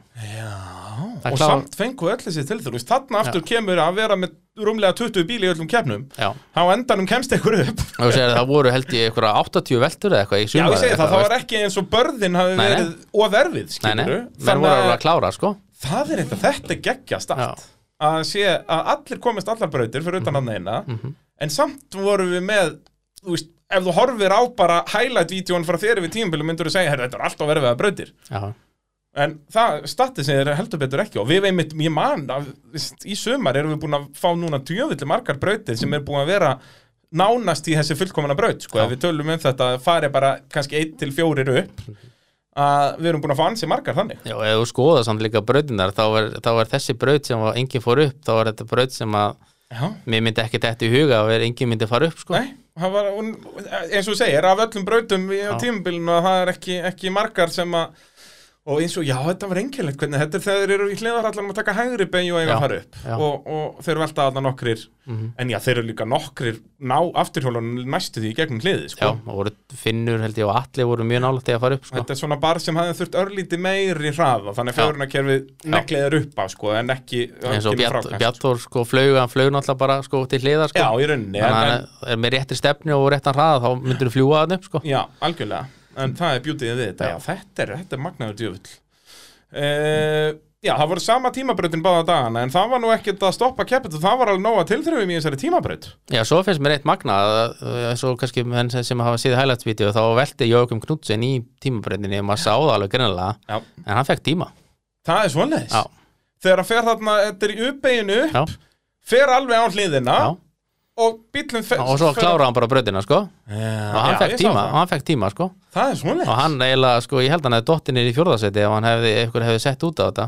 S2: Það
S1: Og
S2: klár-
S1: samt fengu öll þessi til þurfist Þarna aftur kemur að vera með rúmlega 20 bíli í öllum kefnum
S2: Já,
S1: Há endanum kemst ykkur upp
S2: og þú segir að það voru held ég einhverja 80 veltur eða eitthvað í
S1: Já,
S2: sumar
S1: ég segi
S2: eða
S1: það, það
S2: eitthvað,
S1: var ekki eins og börðin hafi
S2: Nei, nei.
S1: verið oferfið,
S2: veist. Nei,
S1: skilur
S2: nei, menn voru alveg að klára, sko
S1: Það er eitthvað, þetta er geggjast
S2: Já, Mhm.
S1: allt að sé að allir komist allar brautir fyrir utan hann eina en samt vorum við með þú veist, ef þú horfir á bara highlight-vídeón frá þér yfir tímabili myndur þú segja "Herra, þetta er alltaf verið að brautir
S2: já,
S1: en það statið sem er heldur betur ekki og við einmitt, ég man að, veist, í sumar erum við búin að fá núna tjöfulli margar brautir sem er búin að vera nánast í þessi fullkomuna braut sko,
S2: Já.
S1: ef við tölum um þetta að fari bara kannski 1 til 4 upp
S2: Mhm.
S1: að við erum búin að fá ansi margar þannig
S2: já, ef þú skoða samt líka brautinar þá er, þá er þessi braut sem var, enginn fór upp þá er þetta braut sem að
S1: Já.
S2: mér myndi ekki þetta í huga að vera enginn myndi fara upp, sko
S1: Nei, það var, hún- eins og þú segir, af öllum brautum í á
S2: Já.
S1: tímabilinu að það er ekki, ekki margar sem að og eins og, já, þetta var einkilegt hvernig þetta er þegar þeir eru í hliðarallanum að taka hægri beigju og eiga
S2: Já,
S1: að fara upp
S2: já.
S1: og, og þeir eru alltaf alltaf nokkrir
S2: Mhm.
S1: en já, þeir eru líka nokkrir ná afturhjólunum næstu því í gegnum hliði,
S2: Já,
S1: sko
S2: og voru finnur held ég og allir voru mjög nálægt því að fara upp, sko
S1: Þetta er svona bar sem hafði þurft örlítið meiri hraða þannig
S2: Já.
S1: fjórunarkerfið negliðar upp á sko en ekki
S2: eins og
S1: ekki með
S2: Bjart-
S1: frákast.
S2: Bjartþór sko flög, hann flög náttúrulega bara sko til hliðar, sko
S1: Já, í rauninni en,
S2: Þannig
S1: en,
S2: að hann er með réttir stefni og réttan hraða þá myndur þú fljúa hann upp sko.
S1: Já, algjörlega, en það er bjútið við þetta,
S2: Já.
S1: já, þetta er, þetta er magnaður djöfull uh, Já, það voru sama tímabrautin báða dagana, en það var nú ekkert að stoppa keppið og það var alveg nóga tilþrifum í þessari tímabraut
S2: Já, svo finnst mér eitt magna eh, eins og kannski menn sem- sem hafa síðið hælætsvídeó þá velti Jókum Knudsen í tímabreyndinni maður sá það alveg greinilega
S1: Já,
S2: en hann fekk tíma
S1: það er svoleiðis
S2: Já,
S1: Þegar að fer þarna, þetta er í uppeginu,
S2: já,
S1: fer alveg á hliðina
S2: já.
S1: og bíllum fer
S2: og svo
S1: fer-
S2: klára hann bara breyndina sko.
S1: Já,
S2: og hann
S1: já,
S2: fekk
S1: ég sá
S2: tíma,
S1: það.
S2: hann fekk tíma sko.
S1: Það er svoleiðis
S2: og hann eiginlega, sko, ég held hann hefði dottinir í fjórðarsæti ef hann hefði, eitthvað hefði sett út á þetta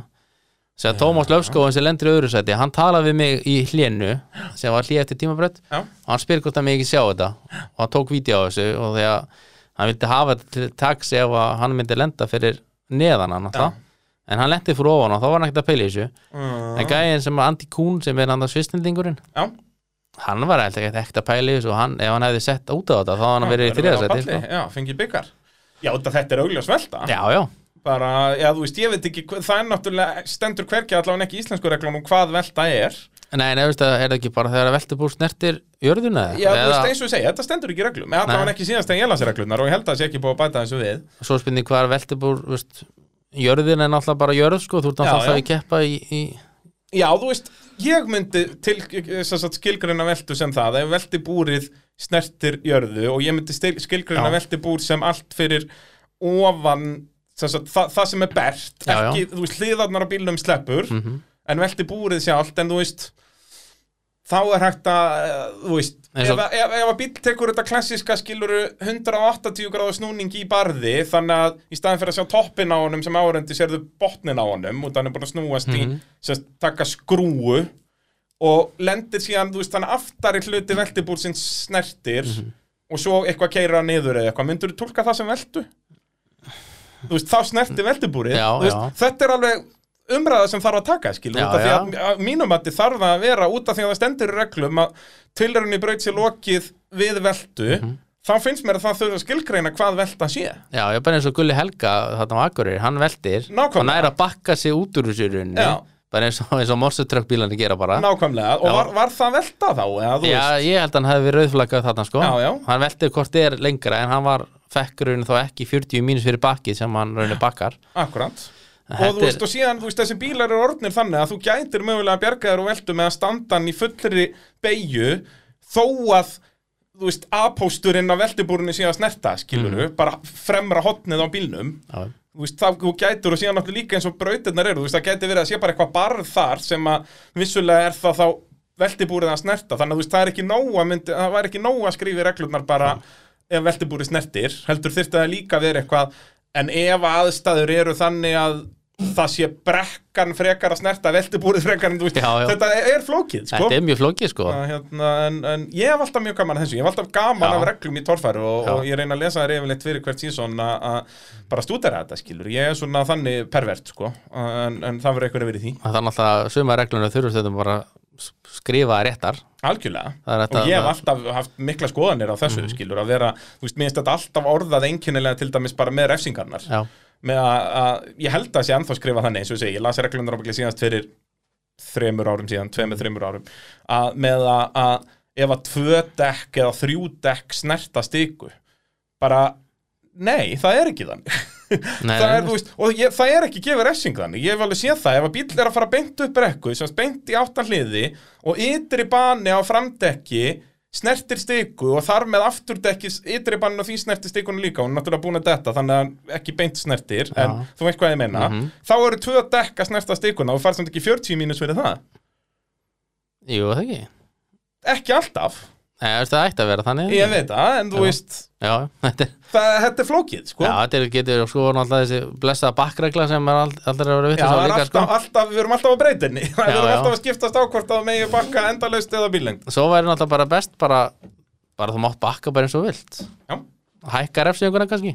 S2: sem að Tómas Löfskóðan sem lendur í öðru sæti hann talaði við mig í hlénu sem var hlé eftir tímabrönd
S1: Já,
S2: og hann spyr hvort hann mig ekki sjá þetta og hann tók vídeo á þessu og þegar hann vildi hafa þetta til taks ef að hann myndi lenda fyrir neðan hann alltaf en hann lendi fyrir ofan og þá var hann ekkert að pæla í þessu
S1: uh,
S2: en gæðin sem Andi Kuhn sem er hann að svistendingurinn
S1: já
S2: hann var ekkert ekkert að pæla í þessu og hann, ef hann hefði sett út á þetta þá hann verið í þriðasæti
S1: sko.
S2: sko.
S1: Já, fengi byggar Já, þetta þetta er augljós velta
S2: já, já,
S1: bara, já þú veist, ég veit ekki hva- það er náttúrulega, stendur hverki allavega ekki í íslensku reglunum hvað velta er
S2: nei, nei, veist það er það ekki bara þegar að veltubúr snertir jörðuna eða-
S1: já, þú veist,
S2: eða
S1: eins og ég segi, þetta stendur ekki í reglum eða allavega
S2: Nei.
S1: ekki síðast en ég las reglunar og ég held að það sé ekki búið að bæta þessu við
S2: svo spynni hvað er veltubúr veist, jörðin er náttúrulega bara jörð sko, þú ert
S1: Já,
S2: náttúrulega
S1: já.
S2: að keppa í, í
S1: já, þú veist, ég myndi til þess að skilgreina veltu sem það ef velti búrið snertir jörðu og ég myndi stil- skilgreina
S2: Já.
S1: velti búr sem allt fyrir ofan sem sagt, það, það sem er bert
S2: Já, já.
S1: ekki, þú veist, hliðarnar á bílnum sleppur
S2: mhm.
S1: en velti búrið sjálft en þú veist þá er hægt að eh, þú veist,
S2: Eins
S1: ef,
S2: og-
S1: að- ef, ef að bíll tekur þetta klassiska skiluru 180 gráða snúning í barði þannig að í staðin fyrir að sjá toppin á honum sem árendi sérðu botnin á honum og þannig bara snúast mm
S2: Mhm.
S1: -hmm. í sem sagt, taka skrúu og lendir síðan, þú veist, þannig aftari hluti veltibúrsins snertir
S2: Mhm.
S1: og svo eitthvað keira niður eða eitthvað myndur þú tólka það sem veltu? Þú veist, þá snerti veltibúrið
S2: Já,
S1: Þú veist, þetta er alveg umræða sem þarf að taka skil,
S2: Já,
S1: út af því
S2: já.
S1: að að mínum að þið þarf það að vera út af því að það stendur í reglum að tilrunni braut sér lokið við veltu þá finnst mér að það þurfa að skilgreina hvað velta sé
S2: Mhm. Já, ég er bara eins og Gulli Helga þarna á Akureyri, hann veltir
S1: Nákvæmlega.
S2: og nær að bakka sig út úr þessu í rauninni
S1: Já.
S2: bara eins og, eins og morsutrökkbílarnir gera bara
S1: nákvæmlega, og
S2: Já.
S1: var, var það velta þá eða þú veist,
S2: Já, ég held að hann hefði verið rauðflaggað þarna sko
S1: Já, já.
S2: hann veltir hvort er lengra en hann var fekk raunin þá ekki 40 mínus fyrir bakki sem hann raunin bakkar
S1: akkurat og
S2: Þetta
S1: þú veist,
S2: er-
S1: og síðan, þú veist, þessi bílar eru orðnir þannig að þú gætir mögulega að bjarga þér og veltu með að standa hann í fullri beigju þó að þú veist, apósturinn af veltibúrunni sé að snerta, skilur
S2: Mhm.
S1: bara fremra hotnið á bílnum
S2: Já,
S1: þú veist, þá þú gætur og síðan náttúrulega líka eins og brautirnar eru, þú veist, það gæti verið að sé bara eitthvað barð þar sem að vissulega er það þá veltibúrið að snerta, þannig að þú veist, það er ekki nóg að myndi, það væri ekki nóg að skrifa í reglurnar bara ef veltibúri snertir heldur þyrfti það líka að vera eitthvað en ef aðstæður eru þannig að það sé brekkan frekar að snerta veltibúrið frekar en þú veist
S2: Já, já.
S1: þetta er- er flókið sko.
S2: Þetta er mjög flókið sko
S1: Að, hérna, en, en ég hef alltaf mjög gaman að þessu ég hef alltaf gaman
S2: Já.
S1: af reglum í torfæru og,
S2: Já.
S1: og ég reyna að lesa þær yfirleitt fyrir hvert síðan að bara stúdera þetta skilur ég er svona þannig pervert sko en, en það verður eitthvað að vera í því
S2: Það er náttúrulega suma reglunum þurfum stundum bara að skrifa réttar
S1: algjörlega
S2: Það er hægt
S1: og
S2: að- Mhm.
S1: ég hef alltaf haft mikla skoðanir á þessu skilur að vera, þú veist, minnst þetta alltaf orðað einkennilega til dæmis bara með refsingarnar
S2: Já,
S1: með að, að ég held að sé ennþá skrifa þannig eins og ég segi, ég las reglunar ábygglega síðast fyrir þremur árum síðan, tveimur, þremur árum að með að, að ef að tvö dekk eða þrjú dekk snerta stiku bara, nei, það er ekki þannig
S2: nei,
S1: það er,
S2: nei,
S1: þú veist, og ég, það er ekki gefið refsing þannig, ég hef alveg séð það, ef að bíll er að fara beint upp brekku, sem sagt beint í áttan hliði og ytri bani á framdekki snertir stiku og þar með afturdekki ytri banin og því snertir stikunum líka, hún er náttúrulega búin að detta þannig að hann ekki beint snertir, en
S2: Já.
S1: þú veist hvað ég meina
S2: Mhm.
S1: þá eru tvö dekk að snerta stikuna og þú færst samt ekki 40 mínus fyrir það,
S2: Jú, það ekki
S1: ekki alltaf
S2: Nei, veistu, það ætti að vera þannig
S1: ég veit það, en þú
S2: Já.
S1: veist
S2: Já, þetta er
S1: það, þetta er flókið, sko
S2: Já, þetta er- getur sko náttúrulega þessi blessaða bakkregla sem er ald- aldrei að
S1: Já,
S2: vera
S1: það
S2: vitlaus á
S1: er
S2: líka
S1: alltaf,
S2: sko.
S1: alltaf, við erum alltaf á breytinni Við
S2: Já,
S1: erum
S2: já.
S1: alltaf að skiptast á hvort að megi bakka endalaust eða bílengd
S2: Svo væri náttúrulega bara best bara, bara þú mátt bakka bara eins og þú vilt
S1: Já.
S2: Hækka refsinguna kannski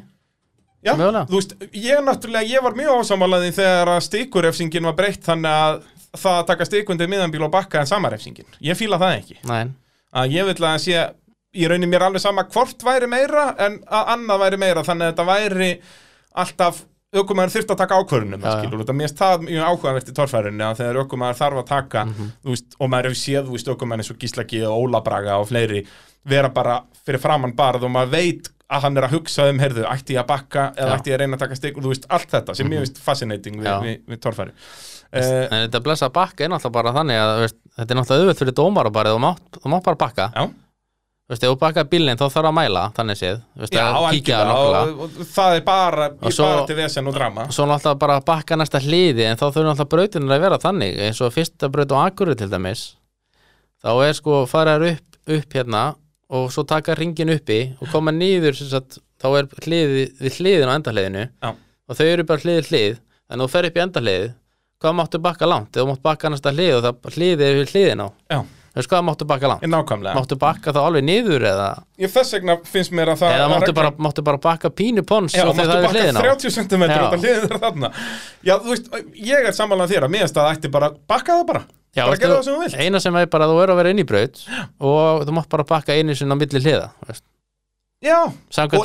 S1: Já,
S2: Mögulega.
S1: þú veist, ég náttúrulega, ég var mjög ásamálaðin þegar að stikurefsingin var breytt þannig að það að taka stikundið miðanbíl og bakka en samarefsingin. Ég fíla það ekki.
S2: Nei,
S1: Að ég vil að sé, ég raunir mér alveg sama hvort væri meira en að annað væri meira þannig að þetta væri alltaf aukumæður þurft að taka ákvörunum
S2: Já, já.
S1: skilur, þetta mér stað mjög áhugavert í torfærunni að þegar aukumæður þarf að taka
S2: Mhm.
S1: þú veist, og maður hefur séð, þú veist, aukumæður eins og Gíslaki og Ólabraga og fleiri vera bara fyrir framann barð og maður veit að hann er að hugsa um, heyrðu, ætti ég að bakka eða
S2: Já. Mhm.
S1: ætti ég að reyna að taka stik og þú veist, allt þetta sem mér veist fascinating við,
S2: Já.
S1: við, við torfæru uh,
S2: en þetta blessaða bakka er náttúrulega bara þannig að þú veist, þetta er náttúrulega auðvöld fyrir dómar og bara þú mátt, þú mátt bara bakka
S1: Já,
S2: Þú veist, ef þú bakkar bílinn þá þarf að mæla þannig séð, þú veist,
S1: já
S2: að kíkja
S1: algjörlega
S2: nokkulega
S1: og, og, og það er bara, ég
S2: svo-
S1: bara til vesen og drama
S2: Svo náttúrulega bara að bakka næsta hliði en þá þurfum náttúrulega brautinir að vera þannig eins og fyrsta braut á Akurri til dæmis þá er sko faraður upp, upp hérna og svo taka ringin uppi og koma niður sem sagt, þá er hliði, við hliðin á endahliðinu
S1: Já.
S2: og þau eru bara hliðið hlið en þú fer upp í endahliðið hvað máttu bakka langt? Ef þú máttu bakka næsta hlið og það hliðið er við hliðin á
S1: Já,
S2: þú veist hvað máttu bakka langt?
S1: nákvæmlega
S2: Máttu bakka þá alveg niður eða
S1: Ég þess vegna finnst mér að það
S2: eða
S1: að
S2: máttu
S1: reglan-
S2: bara, máttu bara bakka pínu pons
S1: Já,
S2: og þau
S1: máttu
S2: það er
S1: bakka
S2: hliðin á
S1: 30 cm
S2: Já.
S1: þetta hliðin er þarna Já, þú veist, ég er samanlega þér að miðast að það ætti bara bakka það bara
S2: Já,
S1: bara
S2: veistu,
S1: gera það sem þú vilt
S2: eina sem er bara að þú er að vera inn í braut og þú mátt bara bakka einu sinni á milli hliða veist.
S1: Já,
S2: Samkvæmt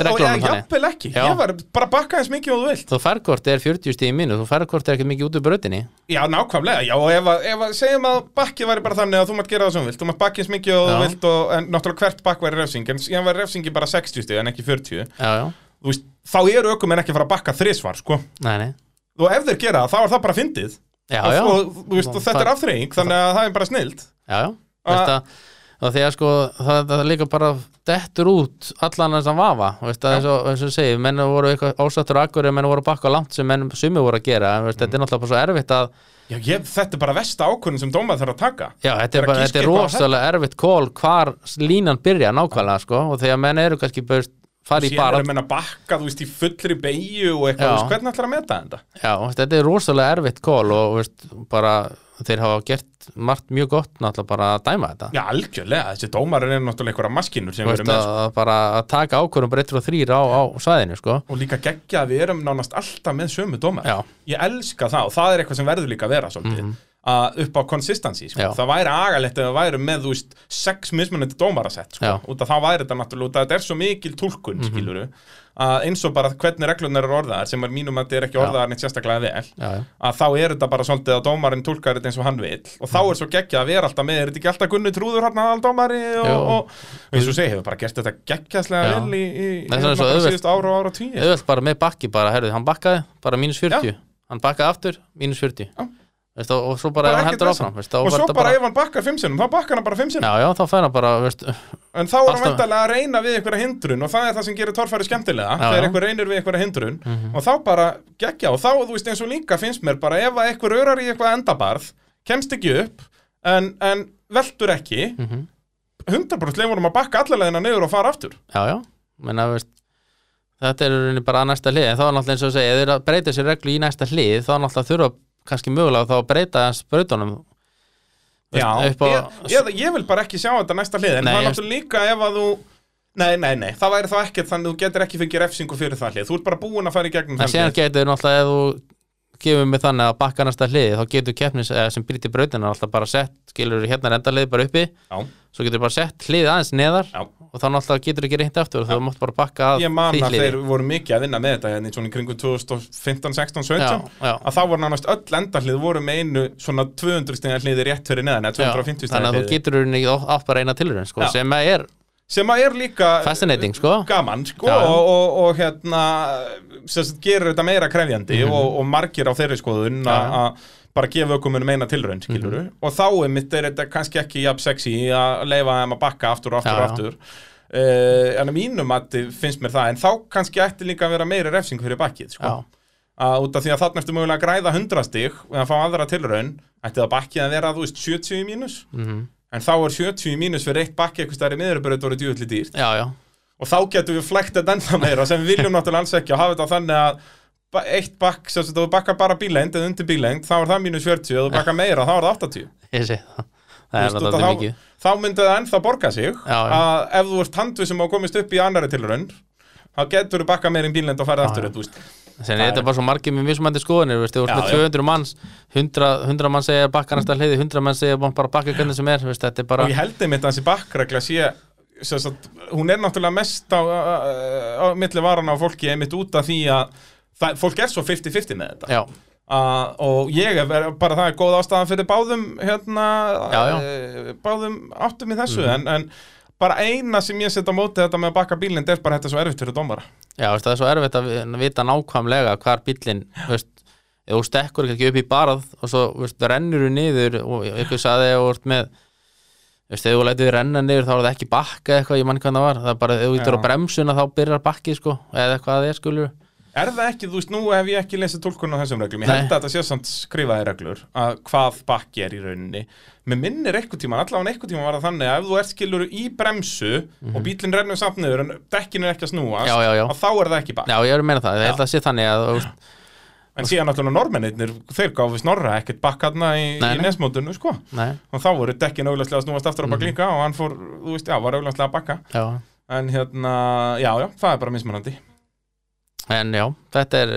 S1: og, og
S2: reglunum
S1: ég
S2: þannig.
S1: jafnvel ekki
S2: Já.
S1: Ég var bara bakka eins mikið og þú vilt
S2: þú færkort er 40 stíði mínu þú færkort er ekkert mikið út úr brautinni
S1: Já, nákvæmlega, já, og ef, að- ef að segjum að bakkið væri bara þannig að þú mátt gera það sem þú vilt Þú mátt bakka eins mikið og þú
S2: Já.
S1: vilt og, En náttúrulega hvert bakk væri refsing En síðan væri refsingi bara 60 stig en ekki 40
S2: já, já,
S1: Þú veist, þá eru ökum en ekki að fara að bakka þrisvar, sko
S2: nei, nei
S1: Og ef þeir gera það, þá er það bara fyndið
S2: já,
S1: og,
S2: já,
S1: og, þú veist,
S2: Nú,
S1: og þetta
S2: það-
S1: er afþreying þannig að það er bara snild
S2: já, já.
S1: Ah.
S2: Veist, að, og því að sko það, það er líka bara dettur út allan þessan vafa veist, að eins og, eins og segir, menn voru eitthvað ásattur akkur menn voru að bakka langt sem menn sumi voru að gera en,
S1: Mm.
S2: veist, þetta er náttúrulega bara svo erfitt að
S1: Já, ég, þetta er bara versta ákvörðin sem dómað þarf að taka
S2: Já, þetta
S1: Bara
S2: er, bara,
S1: gíska
S2: þetta er
S1: eitthvað á
S2: rosalega erfitt kól hvar línan byrja nákvæmlega sko, og þegar menn eru kannski bara fara í
S1: Síðan
S2: bara
S1: er að menna bakka, þú veist, í fullri beigju og
S2: Já.
S1: eitthvað, þú veist, hvernig ætlar að meta þetta?
S2: Já, veist, þetta er rosalega erfitt kól og veist, bara þeir hafa gert margt mjög gott náttúrulega bara að dæma þetta
S1: Já, algjörlega, þessi dómarar eru náttúrulega einhverja maskinur sem
S2: Þú
S1: eru
S2: veist,
S1: með
S2: að,
S1: sko.
S2: að bara að taka ákvörðum bara 1 og 3 á, á svæðinu sko.
S1: og líka geggja að við erum nánast alltaf með sömu dómar
S2: Já,
S1: Ég elska það og það er eitthvað sem verður líka að vera svolítið að upp á consistency, sko.
S2: Mhm. Já.
S1: það væri agalegt ef það væri með, þú veist, sex mismunandi dómarasett, sko,
S2: Já. Mhm.
S1: út að það væri þetta náttúrulega, út að þetta er svo mikil tulkun, mm að eins og bara hvernig reglunar eru orðaðar, sem er mínum að þetta er ekki
S2: Já.
S1: orðaðar neitt sérstaklega vel,
S2: já, já,
S1: að þá er þetta bara svolítið að dómarinn tólkar þetta eins og hann vil og
S2: Mhm.
S1: þá er svo geggjað að vera alltaf með, er þetta ekki alltaf gunni trúður hann aðal dómari
S2: Jú.
S1: og, og, og eins og segja, hefur bara gert þetta
S2: Já.
S1: geggjaðslega vel í, í, í hérna
S2: Nei, það er svo
S1: bara
S2: auðvelt.
S1: síðustu ára og ára tíu
S2: auðvelt bara með bakki bara, herrðu, hann bakkaði bara mínus 40 hann bakkaði aftur, mínus 40
S1: Já.
S2: veist, og, og svo bara,
S1: Bara
S2: ef hann
S1: ekkert
S2: heldur
S1: vesen.
S2: áfram veist, þá
S1: og
S2: var
S1: svo
S2: þetta
S1: bara ef hann bakkar fimm sinnum, þá bakkar hann bara fimm sinnum
S2: Já, já, þá fær hann bara, veist,
S1: en þá er hann
S2: Alltaf.
S1: væntanlega að reyna við einhverja hindrun og það er það sem gerir torfæri skemmtilega
S2: Já, Mhm.
S1: þegar
S2: já.
S1: einhver reynir við einhverja hindrun og þá bara geggja og þá, þú veist, eins og líka finnst mér bara ef að einhver örar í eitthvað endabarð kemst ekki upp en,
S2: mhm.
S1: en veltur ekki 100% leifunum að bakka allalegina niður og fara aftur
S2: já, já menna, veist, þetta er í rauninni bara að næsta hlið en þá er náttúrulega eins og að segja, ef þeir breyta sér reglu í næsta hlið þá er náttúrulega þurfa kannski mögulega þá að breyta hans brautunum
S1: Já,
S2: upp á,
S1: ég, ég, ég vil bara ekki sjá þetta næsta hlið en
S2: Nei,
S1: það er
S2: ég-
S1: náttúrulega líka ef að þú Nei, nei, nei, það væri þá ekkert þannig að þú getur ekki fengið refsingu fyrir það hlið Þú ert bara búin að fara í gegnum
S2: en
S1: það
S2: síðan
S1: hlið
S2: getur náttúrulega ef þú gefur mig þannig að bakka næsta hlið þá getur keppnis eh, sem brýti brautina náttúrulega bara sett, skilur hérna rendarlið bara uppi
S1: Já,
S2: svo getur bara sett hlið aðeins neðar
S1: já,
S2: og þá náttúrulega getur ekki reynt aftur og þú mátt bara bakka að
S1: ég man
S2: því
S1: að
S2: hliði.
S1: þeir voru mikið að vinna með þetta hérna í svona í kringum 2015, 16, 17
S2: já, já.
S1: að þá voru nánast öll endahlið voru með einu svona 200 stegna hliði rétt fyrir neðan eða
S2: Já,
S1: 250
S2: þannig
S1: stegna
S2: að þú
S1: hliði
S2: getur rauninni átt bara eina tilurinn sko,
S1: Já.
S2: sem að er
S1: sem að er líka
S2: fascinating sko.
S1: gaman sko
S2: Já, já.
S1: og, og, og hérna sem sagt, gerir þetta meira krefjandi og, og margir á þeirri skoðun
S2: Mhm. Já,
S1: að
S2: Mhm. já.
S1: að bara gefa ökumunum eina tilraun skilur og þá er mitt er þetta kannski ekki jafn sexy að leifa þeim að bakka aftur og aftur
S2: Já,
S1: og
S2: já.
S1: aftur uh, en að mínum að finnst mér það en þá kannski ætti líka að vera meira refsing fyrir bakkið sko
S2: Já.
S1: að út af því að þarna ertu mögulega að græða 100 stig og að fá aðra tilraun, ætti það bakkið að vera þú veist 70 í mínus
S2: mhm.
S1: en þá er 70 í mínus fyrir eitt bakki eitthvað stærri miðurbröð voru djúvillig dýrt
S2: já, já,
S1: og þá getum við flækt þetta ennþá meira sem við viljum náttúrulega alls ekki og hafa þetta þannig að ba- eitt bakk, sem sagt, ef þú bakkar bara bílengd eða undir bílengd, þá er það mínus 40 og þú bakkar meira, þá er það 80
S2: ég sé það
S1: Þú
S2: það er
S1: veist,
S2: náttúrulega
S1: þá-
S2: mikið
S1: þá myndi það ennþá borga sig
S2: já.
S1: að ef þú ert handvið sem á komist upp í annari tilraun þá getur þú bakka meira í bílengd og farið aftur
S2: já.
S1: upp, þú veist.
S2: Sen er þetta bara svo margir með mismandi skoðanir veist, þú
S1: Já,
S2: veist með
S1: já.
S2: 200 manns 100, 100 mann segja bakka næsta hliði 100 mann segja bara bakka hvernig sem er veist, þetta er bara
S1: og ég held einmitt að þessi bakkregla sé sem sagt, hún er náttúrulega mest á, á, á milli varana á fólki einmitt út af því að það, fólk er svo 50-50 með þetta
S2: já,
S1: uh, og ég er ver- bara það er góð ástæðan fyrir báðum hérna,
S2: Já, Mhm. já.
S1: eh, báðum áttum í þessu en, en bara eina sem ég setja á móti þetta með að bakka bílinn er bara þetta er svo erfitt fyrir dómara
S2: já veist, það er svo erfitt að vi- vita nákvæmlega hvar bíllinn veist, ef þú stekkur ekki upp í barð og svo veist, rennur þú niður og ykkur saði og vart með veist, ef þú lætið renna niður þá er það ekki bakka eitthvað, ég mann hvað það var það er bara, ef þú ítur á
S1: Já.
S2: bremsuna þá byrjar bakki sko, eða eitthvað að það er skilur
S1: Er það ekki, þú veist, nú hef ég ekki lesið tólkun á þessum reglum, ég
S2: Nei.
S1: held að þetta sé samt skrifaði reglur að hvað bakki er í rauninni Mér minnir eitthvað tíma, allavega eitthvað tíma var það þannig að ef þú ert skilur í bremsu og bílinn rennur samt niður en dekkin er ekki að snúast
S2: Mhm. Já, já, já.
S1: að þá er það ekki bakk
S2: já, ég er að meina það, ég held að sé þannig að þú veist,
S1: En síðan náttúrulega normennir, þeir gáfi snorra ekkert bakk hérna í,
S2: Nei,
S1: í
S2: nei.
S1: nesmótinu, sko
S2: Nei,
S1: og þá voru dekkin auðvitað að snúast aftur á
S2: Mhm.
S1: bakk líka og hann fór, þú veist, já, var auðvitað að bakka
S2: já,
S1: En hérna, já, já, það er bara mismunandi
S2: en já, þetta er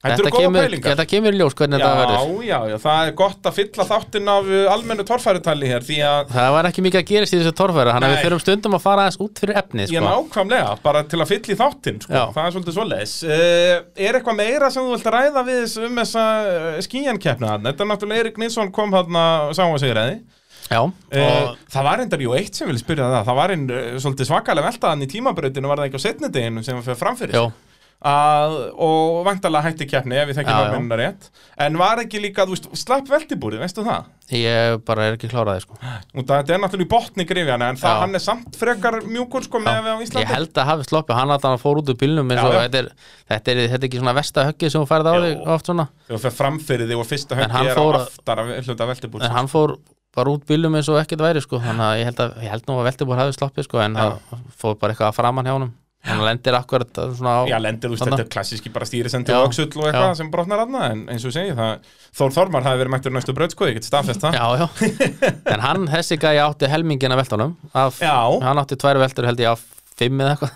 S1: Þetta eru góða
S2: kemur,
S1: pælingar.
S2: þetta kemur í ljós hvernig þetta
S1: Já,
S2: verður
S1: já, já, það er gott að fylla þáttinn af uh, almennu torfærutali hér því að
S2: Það var ekki mikið að gerast í þessu torfæra þannig að
S1: Nei.
S2: við þurfum stundum að fara aðeins út fyrir efnið
S1: ég
S2: sko.
S1: nákvæmlega, bara til að fylla í þáttinn sko.
S2: Já.
S1: það er svolítið svoleiðis uh, Er eitthvað meira sem þú vilt ræða við þess- um þessa uh, skíjankeppna þarna? Þetta er náttúrulega Erik Nilsson kom þarna og sá að segja reyði
S2: Já,
S1: Eh,
S2: og
S1: Það var endar, jú, eitt sem ég vil spyrja það það var einn uh, svolítið svakalega veltaðan í tímabrautinu var það ekki á setni deginu sem fyrir framfyrir
S2: já,
S1: sig? að, og vantarlega hætti keppni ef við þekki
S2: Já, já.
S1: normennina rétt en var ekki líka, þú veist, slapp veltibúrið, veistu það?
S2: ég bara er ekki klárað sko.
S1: Út að þetta er náttúrulega í botni grifjana en það,
S2: Já.
S1: hann er samt frekar mjúkur sko með við á Íslandi
S2: Ég held að hafi sloppið, hann að hann fór út úr bílnum eins og
S1: Já, já.
S2: þetta er, þetta, er, þetta er ekki svona versta höggið sem hún færði á
S1: Jú.
S2: þig oft svona
S1: Þegar þú fer framfyrir þig og fyrsta
S2: En hann
S1: höggi er
S2: fór
S1: á
S2: að-
S1: aftar af hluta sko. veltibúr
S2: en hann fór bara út bílnum eins og ekkert væri sko. þannig að ég held, að, ég held nú að Veltibor hafi sloppið sko, en það fór bara eitthvað að framan hjá honum hann lendir akkurat svona á
S1: Já, lendir, þú veist,
S2: Þarna.
S1: þetta er klassíski bara stýrisendi
S2: Já.
S1: og öxull og eitthvað
S2: Já.
S1: sem brotnar aðna en eins og ég segi það, Þór Þormar hafi verið mættur næstu braut sko, ég get staðfest það
S2: Já, já, en hann, þessi gæi átti helmingin af veltunum af,
S1: Já.
S2: Hann átti tvær veltur held ég af fimm eða eitthvað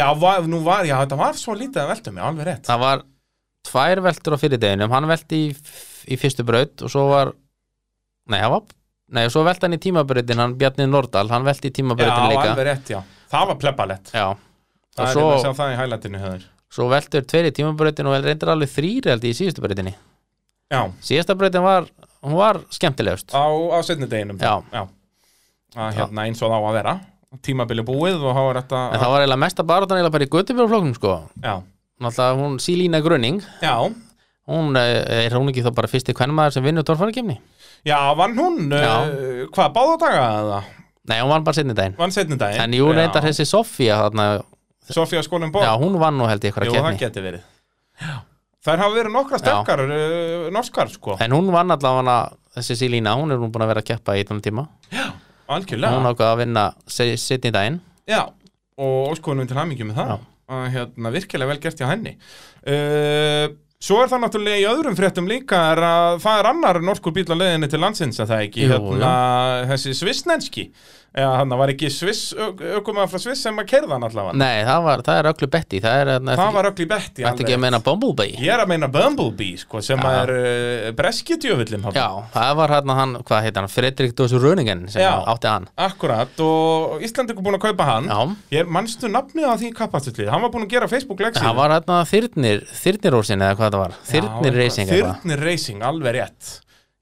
S1: Já, va, nú var, já, þetta var svo lítið að veltum, já, alveg rétt
S2: Það var tvær veltur á fyrirdeginum Hann velti í, í fyrstu braut og svo var Nei, hann var Nei, og svo velti hann í tímabrautin, hann Bjarni Nordal Hann velti í
S1: Já,
S2: tímabrautin líka
S1: alveg rétt, já, það var plebbalett
S2: Já,
S1: Það
S2: og
S1: er
S2: svo,
S1: svo... að sjá það í hælætinu höður
S2: svo veltur tveir í tímabrautin og reyndir alveg þrýr held ég í síðustu brautinni
S1: Já,
S2: Síðasta brautin var, hún var skemmtilegust
S1: á, á setni deginum
S2: Já.
S1: Að, hérna, eins og þá að vera Tímabili búið og þá er þetta
S2: En það var eiginlega mesta baráttan eiginlega bara í Götubjörflóknum sko
S1: Já,
S2: Náttúrulega hún Sílína Gröning
S1: já
S2: hún eh, er hún ekki þá bara fyrsti kvennmaður sem vinnur torfærakefni?
S1: Já, vann hún,
S2: Já.
S1: Uh, hvað, báða daga eða?
S2: Nei, hún vann bara setni daginn
S1: Vann setni daginn
S2: en jú, reyndar þessi Sofía þarna,
S1: Sofía skólinn bóð
S2: já, hún vann nú held ég
S1: Jú,
S2: eitthvað
S1: það
S2: kefni,
S1: geti verið já. Þær hafa verið nokkra sterkar uh, norskar, sko
S2: en hún vann allavega þessi Sílína, hún er nú búin að vera að keppa í þannig tíma
S1: Algjörlega
S2: hún ákvað að vinna setni daginn
S1: Já, og óskonum til hamingju með það
S2: Já.
S1: að hérna, virkilega vel gert hjá henni uh, Svo er það náttúrulega í öðrum fréttum líka er að það er annar norskur bíl á leiðinni til landsins að það ekki,
S2: Jú,
S1: hérna, þessi svissnenski eða hann var ekki sviss, ök, ökumæður frá sviss sem að kerða hann allavega
S2: Nei, það, var, það er öllu betti Það er það
S1: það var öll í betti
S2: Ætti ekki að meina Bumblebee
S1: Ég er að meina Bumblebee, sko, sem
S2: Já.
S1: er uh, breskidjöfullin hann.
S2: Já, það var hann, hann hvað heitir hann, Fredrik Dósur Röningen sem
S1: Já.
S2: átti hann
S1: Akkurat, og Íslandingur búin að kaupa hann
S2: Já,
S1: Ég mannstu nafnið á því kappastullið Hann var búin að gera Facebook legsíð
S2: það var hann þyrnir, þyrnirósin eða hvað það var, þyrnir racing eitthvað.
S1: Þyrnir Racing, alveg rétt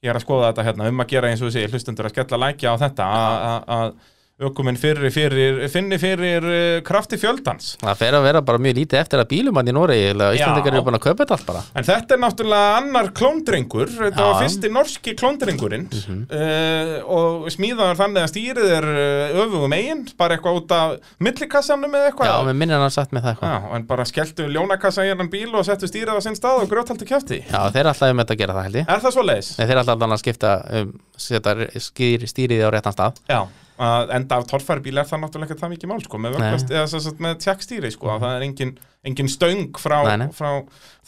S1: Ég er að skoða þetta hérna um að gera eins og þessi hlustendur að skella lækja á þetta að- að- að ökuminn fyrir, fyrir, finni fyrir uh, krafti fjöldans
S2: Það fer að vera bara mjög lítið eftir að bílum hann í Noregi, eða
S1: Já.
S2: Íslandingar eru búin að kaupa þetta allt bara.
S1: En þetta er náttúrulega annar klóndrengur, þetta
S2: Já. Mhm.
S1: var fyrsti norski klóndrengurinn uh, og smíðaður þannig að stýrið er uh, öfugum eigin, bara eitthvað út af millikassanum eða
S2: Já,
S1: eitthvað
S2: við minnir hann satt með það eitthvað.
S1: Já, en bara skelltu ljónakassa í hennan bíl og settu stýrið á sinn stað og grjóthaldi kjæfti
S2: Já, þeir er alltaf með þetta að gera það held ég.
S1: Er það svo leiðis?
S2: Nei, þeir er alltaf að skipta, um, setja skýr, stýriði á réttan stað.
S1: Já, að enda af torfæribíl er það náttúrulega ekki það mikið mál sko, með,
S2: Nei.
S1: vöglast, eða, sem sagt, með tjekkstýri sko, að það er engin, engin stöng frá,
S2: Nei, nei.
S1: frá,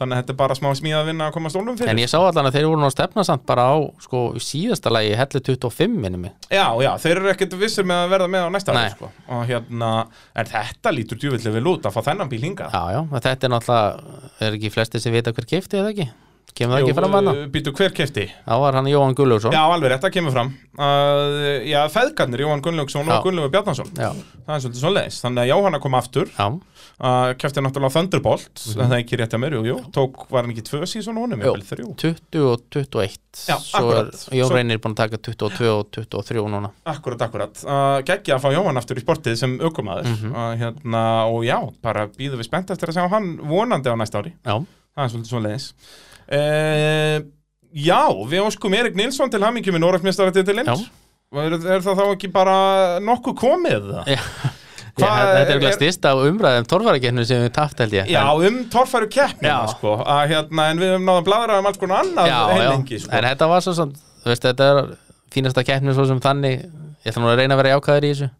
S1: þannig að þetta er bara smá smíðað vinna að koma stólum fyrir.
S2: En ég sá allan að þeir voru nú að stefna samt bara á, sko, í síðasta lagi, hellu 25 minnum mig.
S1: Já, já, þeir eru ekkert vissir með að verða með á næsta ári
S2: Nei.
S1: sko, og hérna, en þetta lítur djúvillig vel út að fá þennan bíl hingað.
S2: Já, já, þetta er náttúrulega, er ekki flesti sem vita hver keipti eða ekki? Kemur það ekki fram að
S1: Býtu hver kefti?
S2: Það var hann Jóhann Gulljófsson.
S1: Já, alveg rétt, það kemur fram. Uh, já, feðgarnir, Jóhann Gunnlaugsson og
S2: Já.
S1: Gunnlaugur Bjarnason.
S2: Já.
S1: Það er svolítið svo leiðis. Þannig að Jóhanna kom aftur,
S2: Já,
S1: uh, kefti náttúrulega Thunderbolt, það er ekki rétt að mér, jú, jú, tók, var hann ekki tvö síðan og honum,
S2: Mhm. Jú.
S1: jafnvel þrjú.
S2: 20 og 21.
S1: Já,
S2: Svo er
S1: akkurat.
S2: Jón
S1: Svo-
S2: Reynir búin að taka 22 og 23 núna.
S1: Akkurat, akkurat. Uh, Gekkið að fá Jóhann aftur í sportið sem aukumaður
S2: Mhm.
S1: uh, hérna, og já, bara býðum við spennt eftir að sjá hann vonandi á næsta ári.
S2: Já,
S1: Það er svolítið svo leiðis. Uh, já, við óskum Erik Nilsson til hamingju með Norræfmjöstaratitilinn.
S2: já.
S1: Er, er það þá ekki bara nokkuð komið? Hvað
S2: Já. Ég, þetta
S1: er-
S2: er eitthvað styrst af umræðum torfarakeppnum sem við tapt held ég
S1: Já, um torfæru keppnina,
S2: Já.
S1: sko. Að, hérna, en við höfum náðum bladra um alls konar annað
S2: en, já,
S1: heilengi,
S2: já.
S1: sko.
S2: en þetta var svo svona þú veist, þetta er fínasta keppnum svo sem þannig ég ætla nú að reyna að vera jákvæður í þessu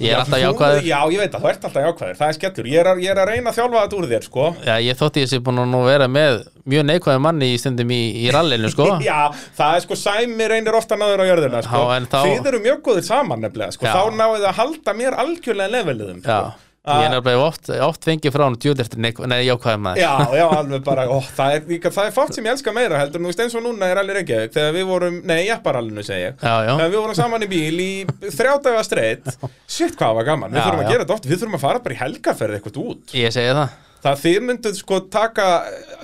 S2: ég er
S1: Já,
S2: alltaf
S1: þú-
S2: jákvæður
S1: Já, ég veit að þú ert alltaf jákvæður. Það er skellur. Ég er, að- ég er að reyna að þjálfa þetta úr þér, sko.
S2: já, ég þótti ég sé búin að nú vera með mjög neikvæður manni í stundum í, í rallinu sko
S1: Já, það er sko sæmi reynir ofta náður á jörðina sko.
S2: Já, en þá-
S1: Þið eru mjög góðir saman nefnilega sko.
S2: Já.
S1: Þá náðu að halda mér algjörlega leveliðum
S2: já,
S1: sko.
S2: ég er nefnilega oft, oft fengið frá hann djúlertir jákvæður maður
S1: Já, já, alveg bara, ó, það er, líka, það er fátt sem ég elska meira heldur, en þú veist eins og núna er allir Reykjavík þegar við vorum, nei, jepparallinu segi ég
S2: Já, já.
S1: þegar við vorum saman í bíl í þrjádaga streitt, shit hvað það var gaman við
S2: Já,
S1: þurfum að
S2: já.
S1: gera þetta oft, við þurfum að fara bara í helgarferð eitthvað út,
S2: ég segi það
S1: það þið mynduð sko taka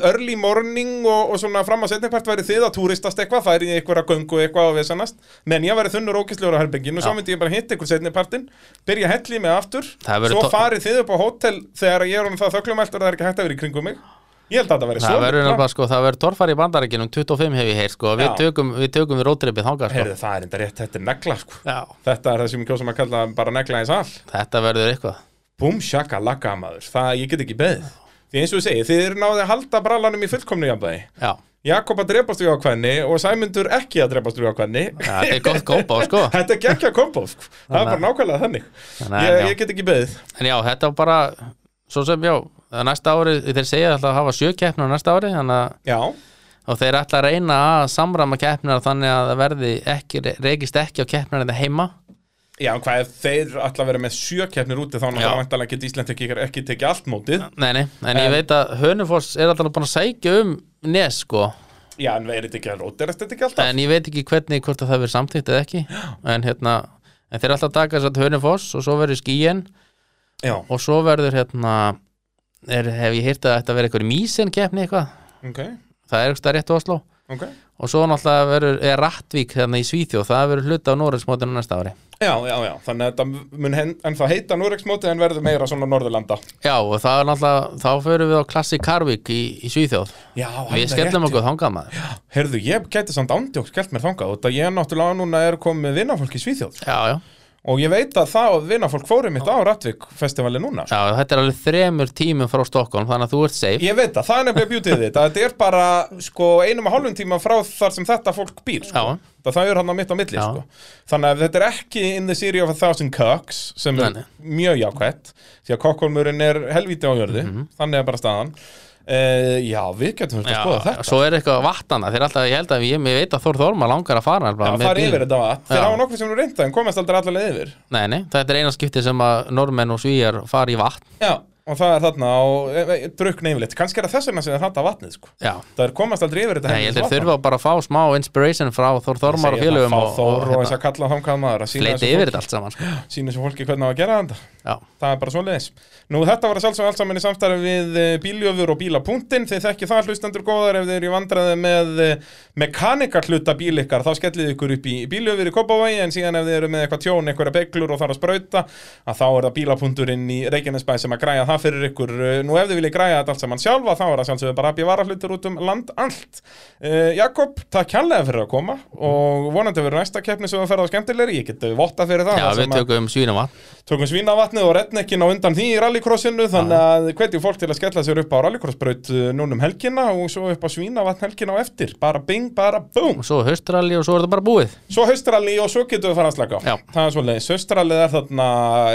S1: early morning og, og svona fram að setningpart væri þið að túristast eitthvað, færi í einhverja göngu eitthvað og vesannast, menn ég væri þunnur ókislegur á herbygginu, svo
S2: Já.
S1: myndi ég bara hitta ykkur setningpartin, byrja að helli mig aftur
S2: Það verður
S1: svo
S2: to-
S1: farið þið upp á hótel þegar ég er honum það þöglumæltur það er ekki hægt að vera í kringum mig ég held að það væri
S2: það verður
S1: mikla-
S2: nefnilega sko, það verður torfari í bandarækjunum 25 hef ég heyr sko, við
S1: Já.
S2: tökum við tökum við rótrippið þangað sko
S1: Heyrðu, það er enda rétt, þetta er negla sko.
S2: já,
S1: þetta er það sem ég kjóðum að kalla bara negla í sal
S2: þetta verður eitthvað
S1: búm shaka laka maður, það ég get ekki beðið því eins og ég segi, þið eru náðið að halda brallanum í fullkomnu jafnvægi
S2: já,
S1: Jakob að drepast við ákvæðni og Sæmundur ekki að drepast við ákvæðni
S2: Já, þetta er gott gópa sko
S1: Þetta er gekkja kombo, sko. það er
S2: Þannig að-
S1: bara nákvæmlega þannig
S2: Þannig að,
S1: ég,
S2: já.
S1: ég get ekki beðið
S2: En já, þetta var bara Svo sem, já, að næsta ári Þeir segja alltaf að hafa sjö keppnur á næsta ári þannig að,
S1: Já,
S2: Og þeir ætla að reyna að samrama keppnur Þannig að það verði ekki Reykist ekki á keppnur þetta heima
S1: já en hvað ef þeir ætla að vera með sjö keppnir úti þá náttúrulega vantalega get Ísland ekki, ekki tekið allt mótið
S2: Nei, nei, en ég
S1: En-
S2: veit að Hönufoss er alltaf búin að sækja um Nes, sko
S1: Já, en er þetta ekki að róterast þetta ekki alltaf?
S2: En ég veit ekki hvernig hvort að það verið samþýtt eða ekki En hérna En þeir ætla að taka þess að Hönufoss Og svo verður skíin
S1: Já,
S2: Og svo verður hérna er, Hef ég heyrt að þetta verið eitthvað mísin keppni eitthvað
S1: ok,
S2: Það er eitthvað rétt á Oslo
S1: ok
S2: og svo náttúrulega verður, er Rattvík þannig í Svíþjóð, það verður hluta á Noregsmótinu næsta ári.
S1: Já, já, já, þannig að þetta mun hen, en það heita Noregsmótið en verður meira svona Norðurlanda
S2: Já, og það er náttúrulega, þá förum við á Klassik Karvík í, í Svíþjóð.
S1: Já,
S2: Við skellum okkur þangað maður.
S1: Herðu, ég gæti samt ándjók skellt mér þangað út að ég náttúrulega núna er komið vinnafólk í Svíþjóð
S2: Já, já.
S1: og ég veit að það og vinafólk fórum mitt á Rattvik festivali núna sko.
S2: Já, þetta er alveg þremur tímum frá Stockholm þannig að þú ert safe
S1: ég veit að það er nefnilega bjútið við þetta þetta er bara sko einum og hálfum tíma frá þar sem þetta fólk býr sko.
S2: Já,
S1: það, það er hann á mitt á milli
S2: Já.
S1: sko. þannig að þetta er ekki in the series of a thousand cocks sem er
S2: Nei,
S1: mjög jákvætt því að kokkolmurinn er helvíti á jörði þannig er bara staðan uh, já við getum þurft að
S2: Mhm. já,
S1: skoða þetta
S2: svo er eitthvað vatnana þeir er alltaf, ég held að ég, ég veit að Þór Þorma langar að fara
S1: Já,
S2: bara með
S1: það er
S2: bíl.
S1: yfir þetta vatn. Þeir
S2: Já.
S1: hafa nokkur sem eru reynda en komast aldrei allar leið yfir.
S2: Nei, nei, þetta er eina skipti sem að normenn og svíjar fara í vatn
S1: Já, og það er þarna á e, e, drukna yfirleitt. Kannski er það þess vegna sem það þarna vatnið, sko.
S2: Já,
S1: Það er komast aldrei yfir þetta sko.
S2: nei, ég held að þurfa bara að fá smá inspiration frá Þór Þormar og félögum
S1: og,
S2: og,
S1: Þór og,
S2: og,
S1: þess að kalla þangað maður að
S2: og
S1: sína
S2: leiti yfir þetta allt saman sko.
S1: fólki, sína þessu fólki hvernig á að gera þetta.
S2: Já,
S1: Það er bara svo leiðis. Nú þetta var að sjálfsögum allt saman í samstarfi við eh, bíljöfur og bílapunktin. Þið þekki það hlustendur góðar ef þið eru í vandræði með mekanikar hluta bíl ykkar. Þá skellið ykkur upp í bíljöfur í Kópavægi en síðan ef þið eru með eitthvað tjón, eitthvað beglur og þarf að sprauta að þá er það bílapunkturinn í Reykjanesbæ sem að græja það fyrir ykkur. Eh, Nú ef þið viljið græja þetta allt saman sjálfa þá er það sjálfsögum bara að bíða varahlutur út um land allt. Uh, Jakob, takk kjærlega fyrir að koma og vonandi verður næsta keppni sem að ferða á skemmtilegri. Ég get votta fyrir það.
S2: já
S1: þar sem
S2: við
S1: að-
S2: tökum svína vatn
S1: Tökum svínavatnið og rednekkin á undan því í rallycrossinu þannig að hvetjum fólk til að skella sér upp á rallycrossbraut uh, núna um helgina og svo upp á svínavatn helgina á eftir bara bing, bara búm
S2: og svo haustralli og svo er þetta bara búið
S1: Svo haustralli og svo getum við fara að slaka á
S2: Já.
S1: Það er svoleiðis, haustrallið er þarna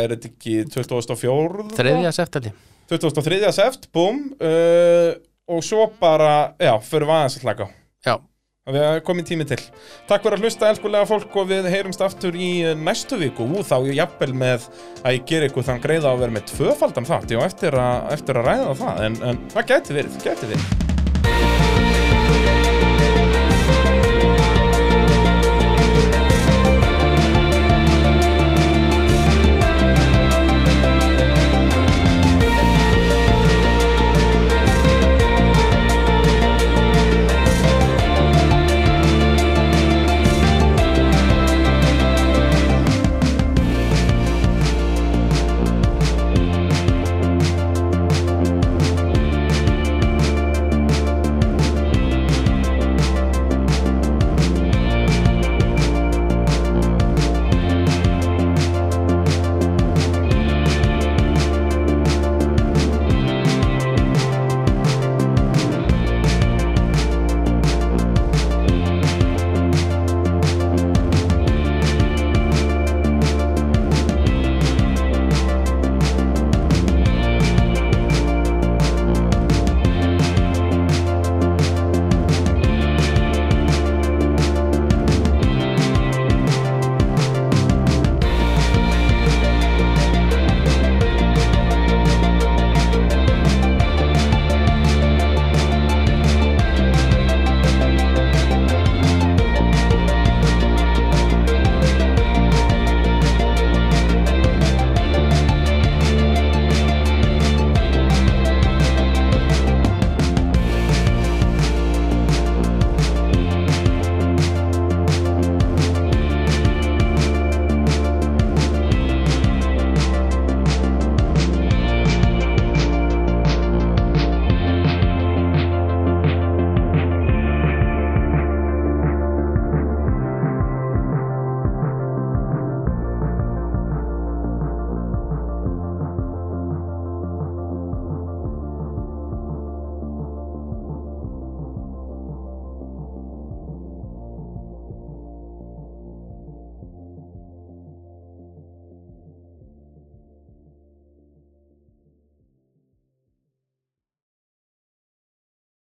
S1: er þetta ekki 2004
S2: Þriðja september
S1: 2003 seft, búm uh, og svo bara, já, fyrir vaðans að slaka á
S2: Já,
S1: Við erum komin tími til. Takk fyrir að hlusta, elskulega fólk, og við heyrumst aftur í eh, næstu viku. Ú, þá ég jafnvel með að ég ger ykkur þann greiða að vera með tvöfaldan þátt. Já, eftir, a, eftir að ræða það, en, en það gæti verið, gæti verið.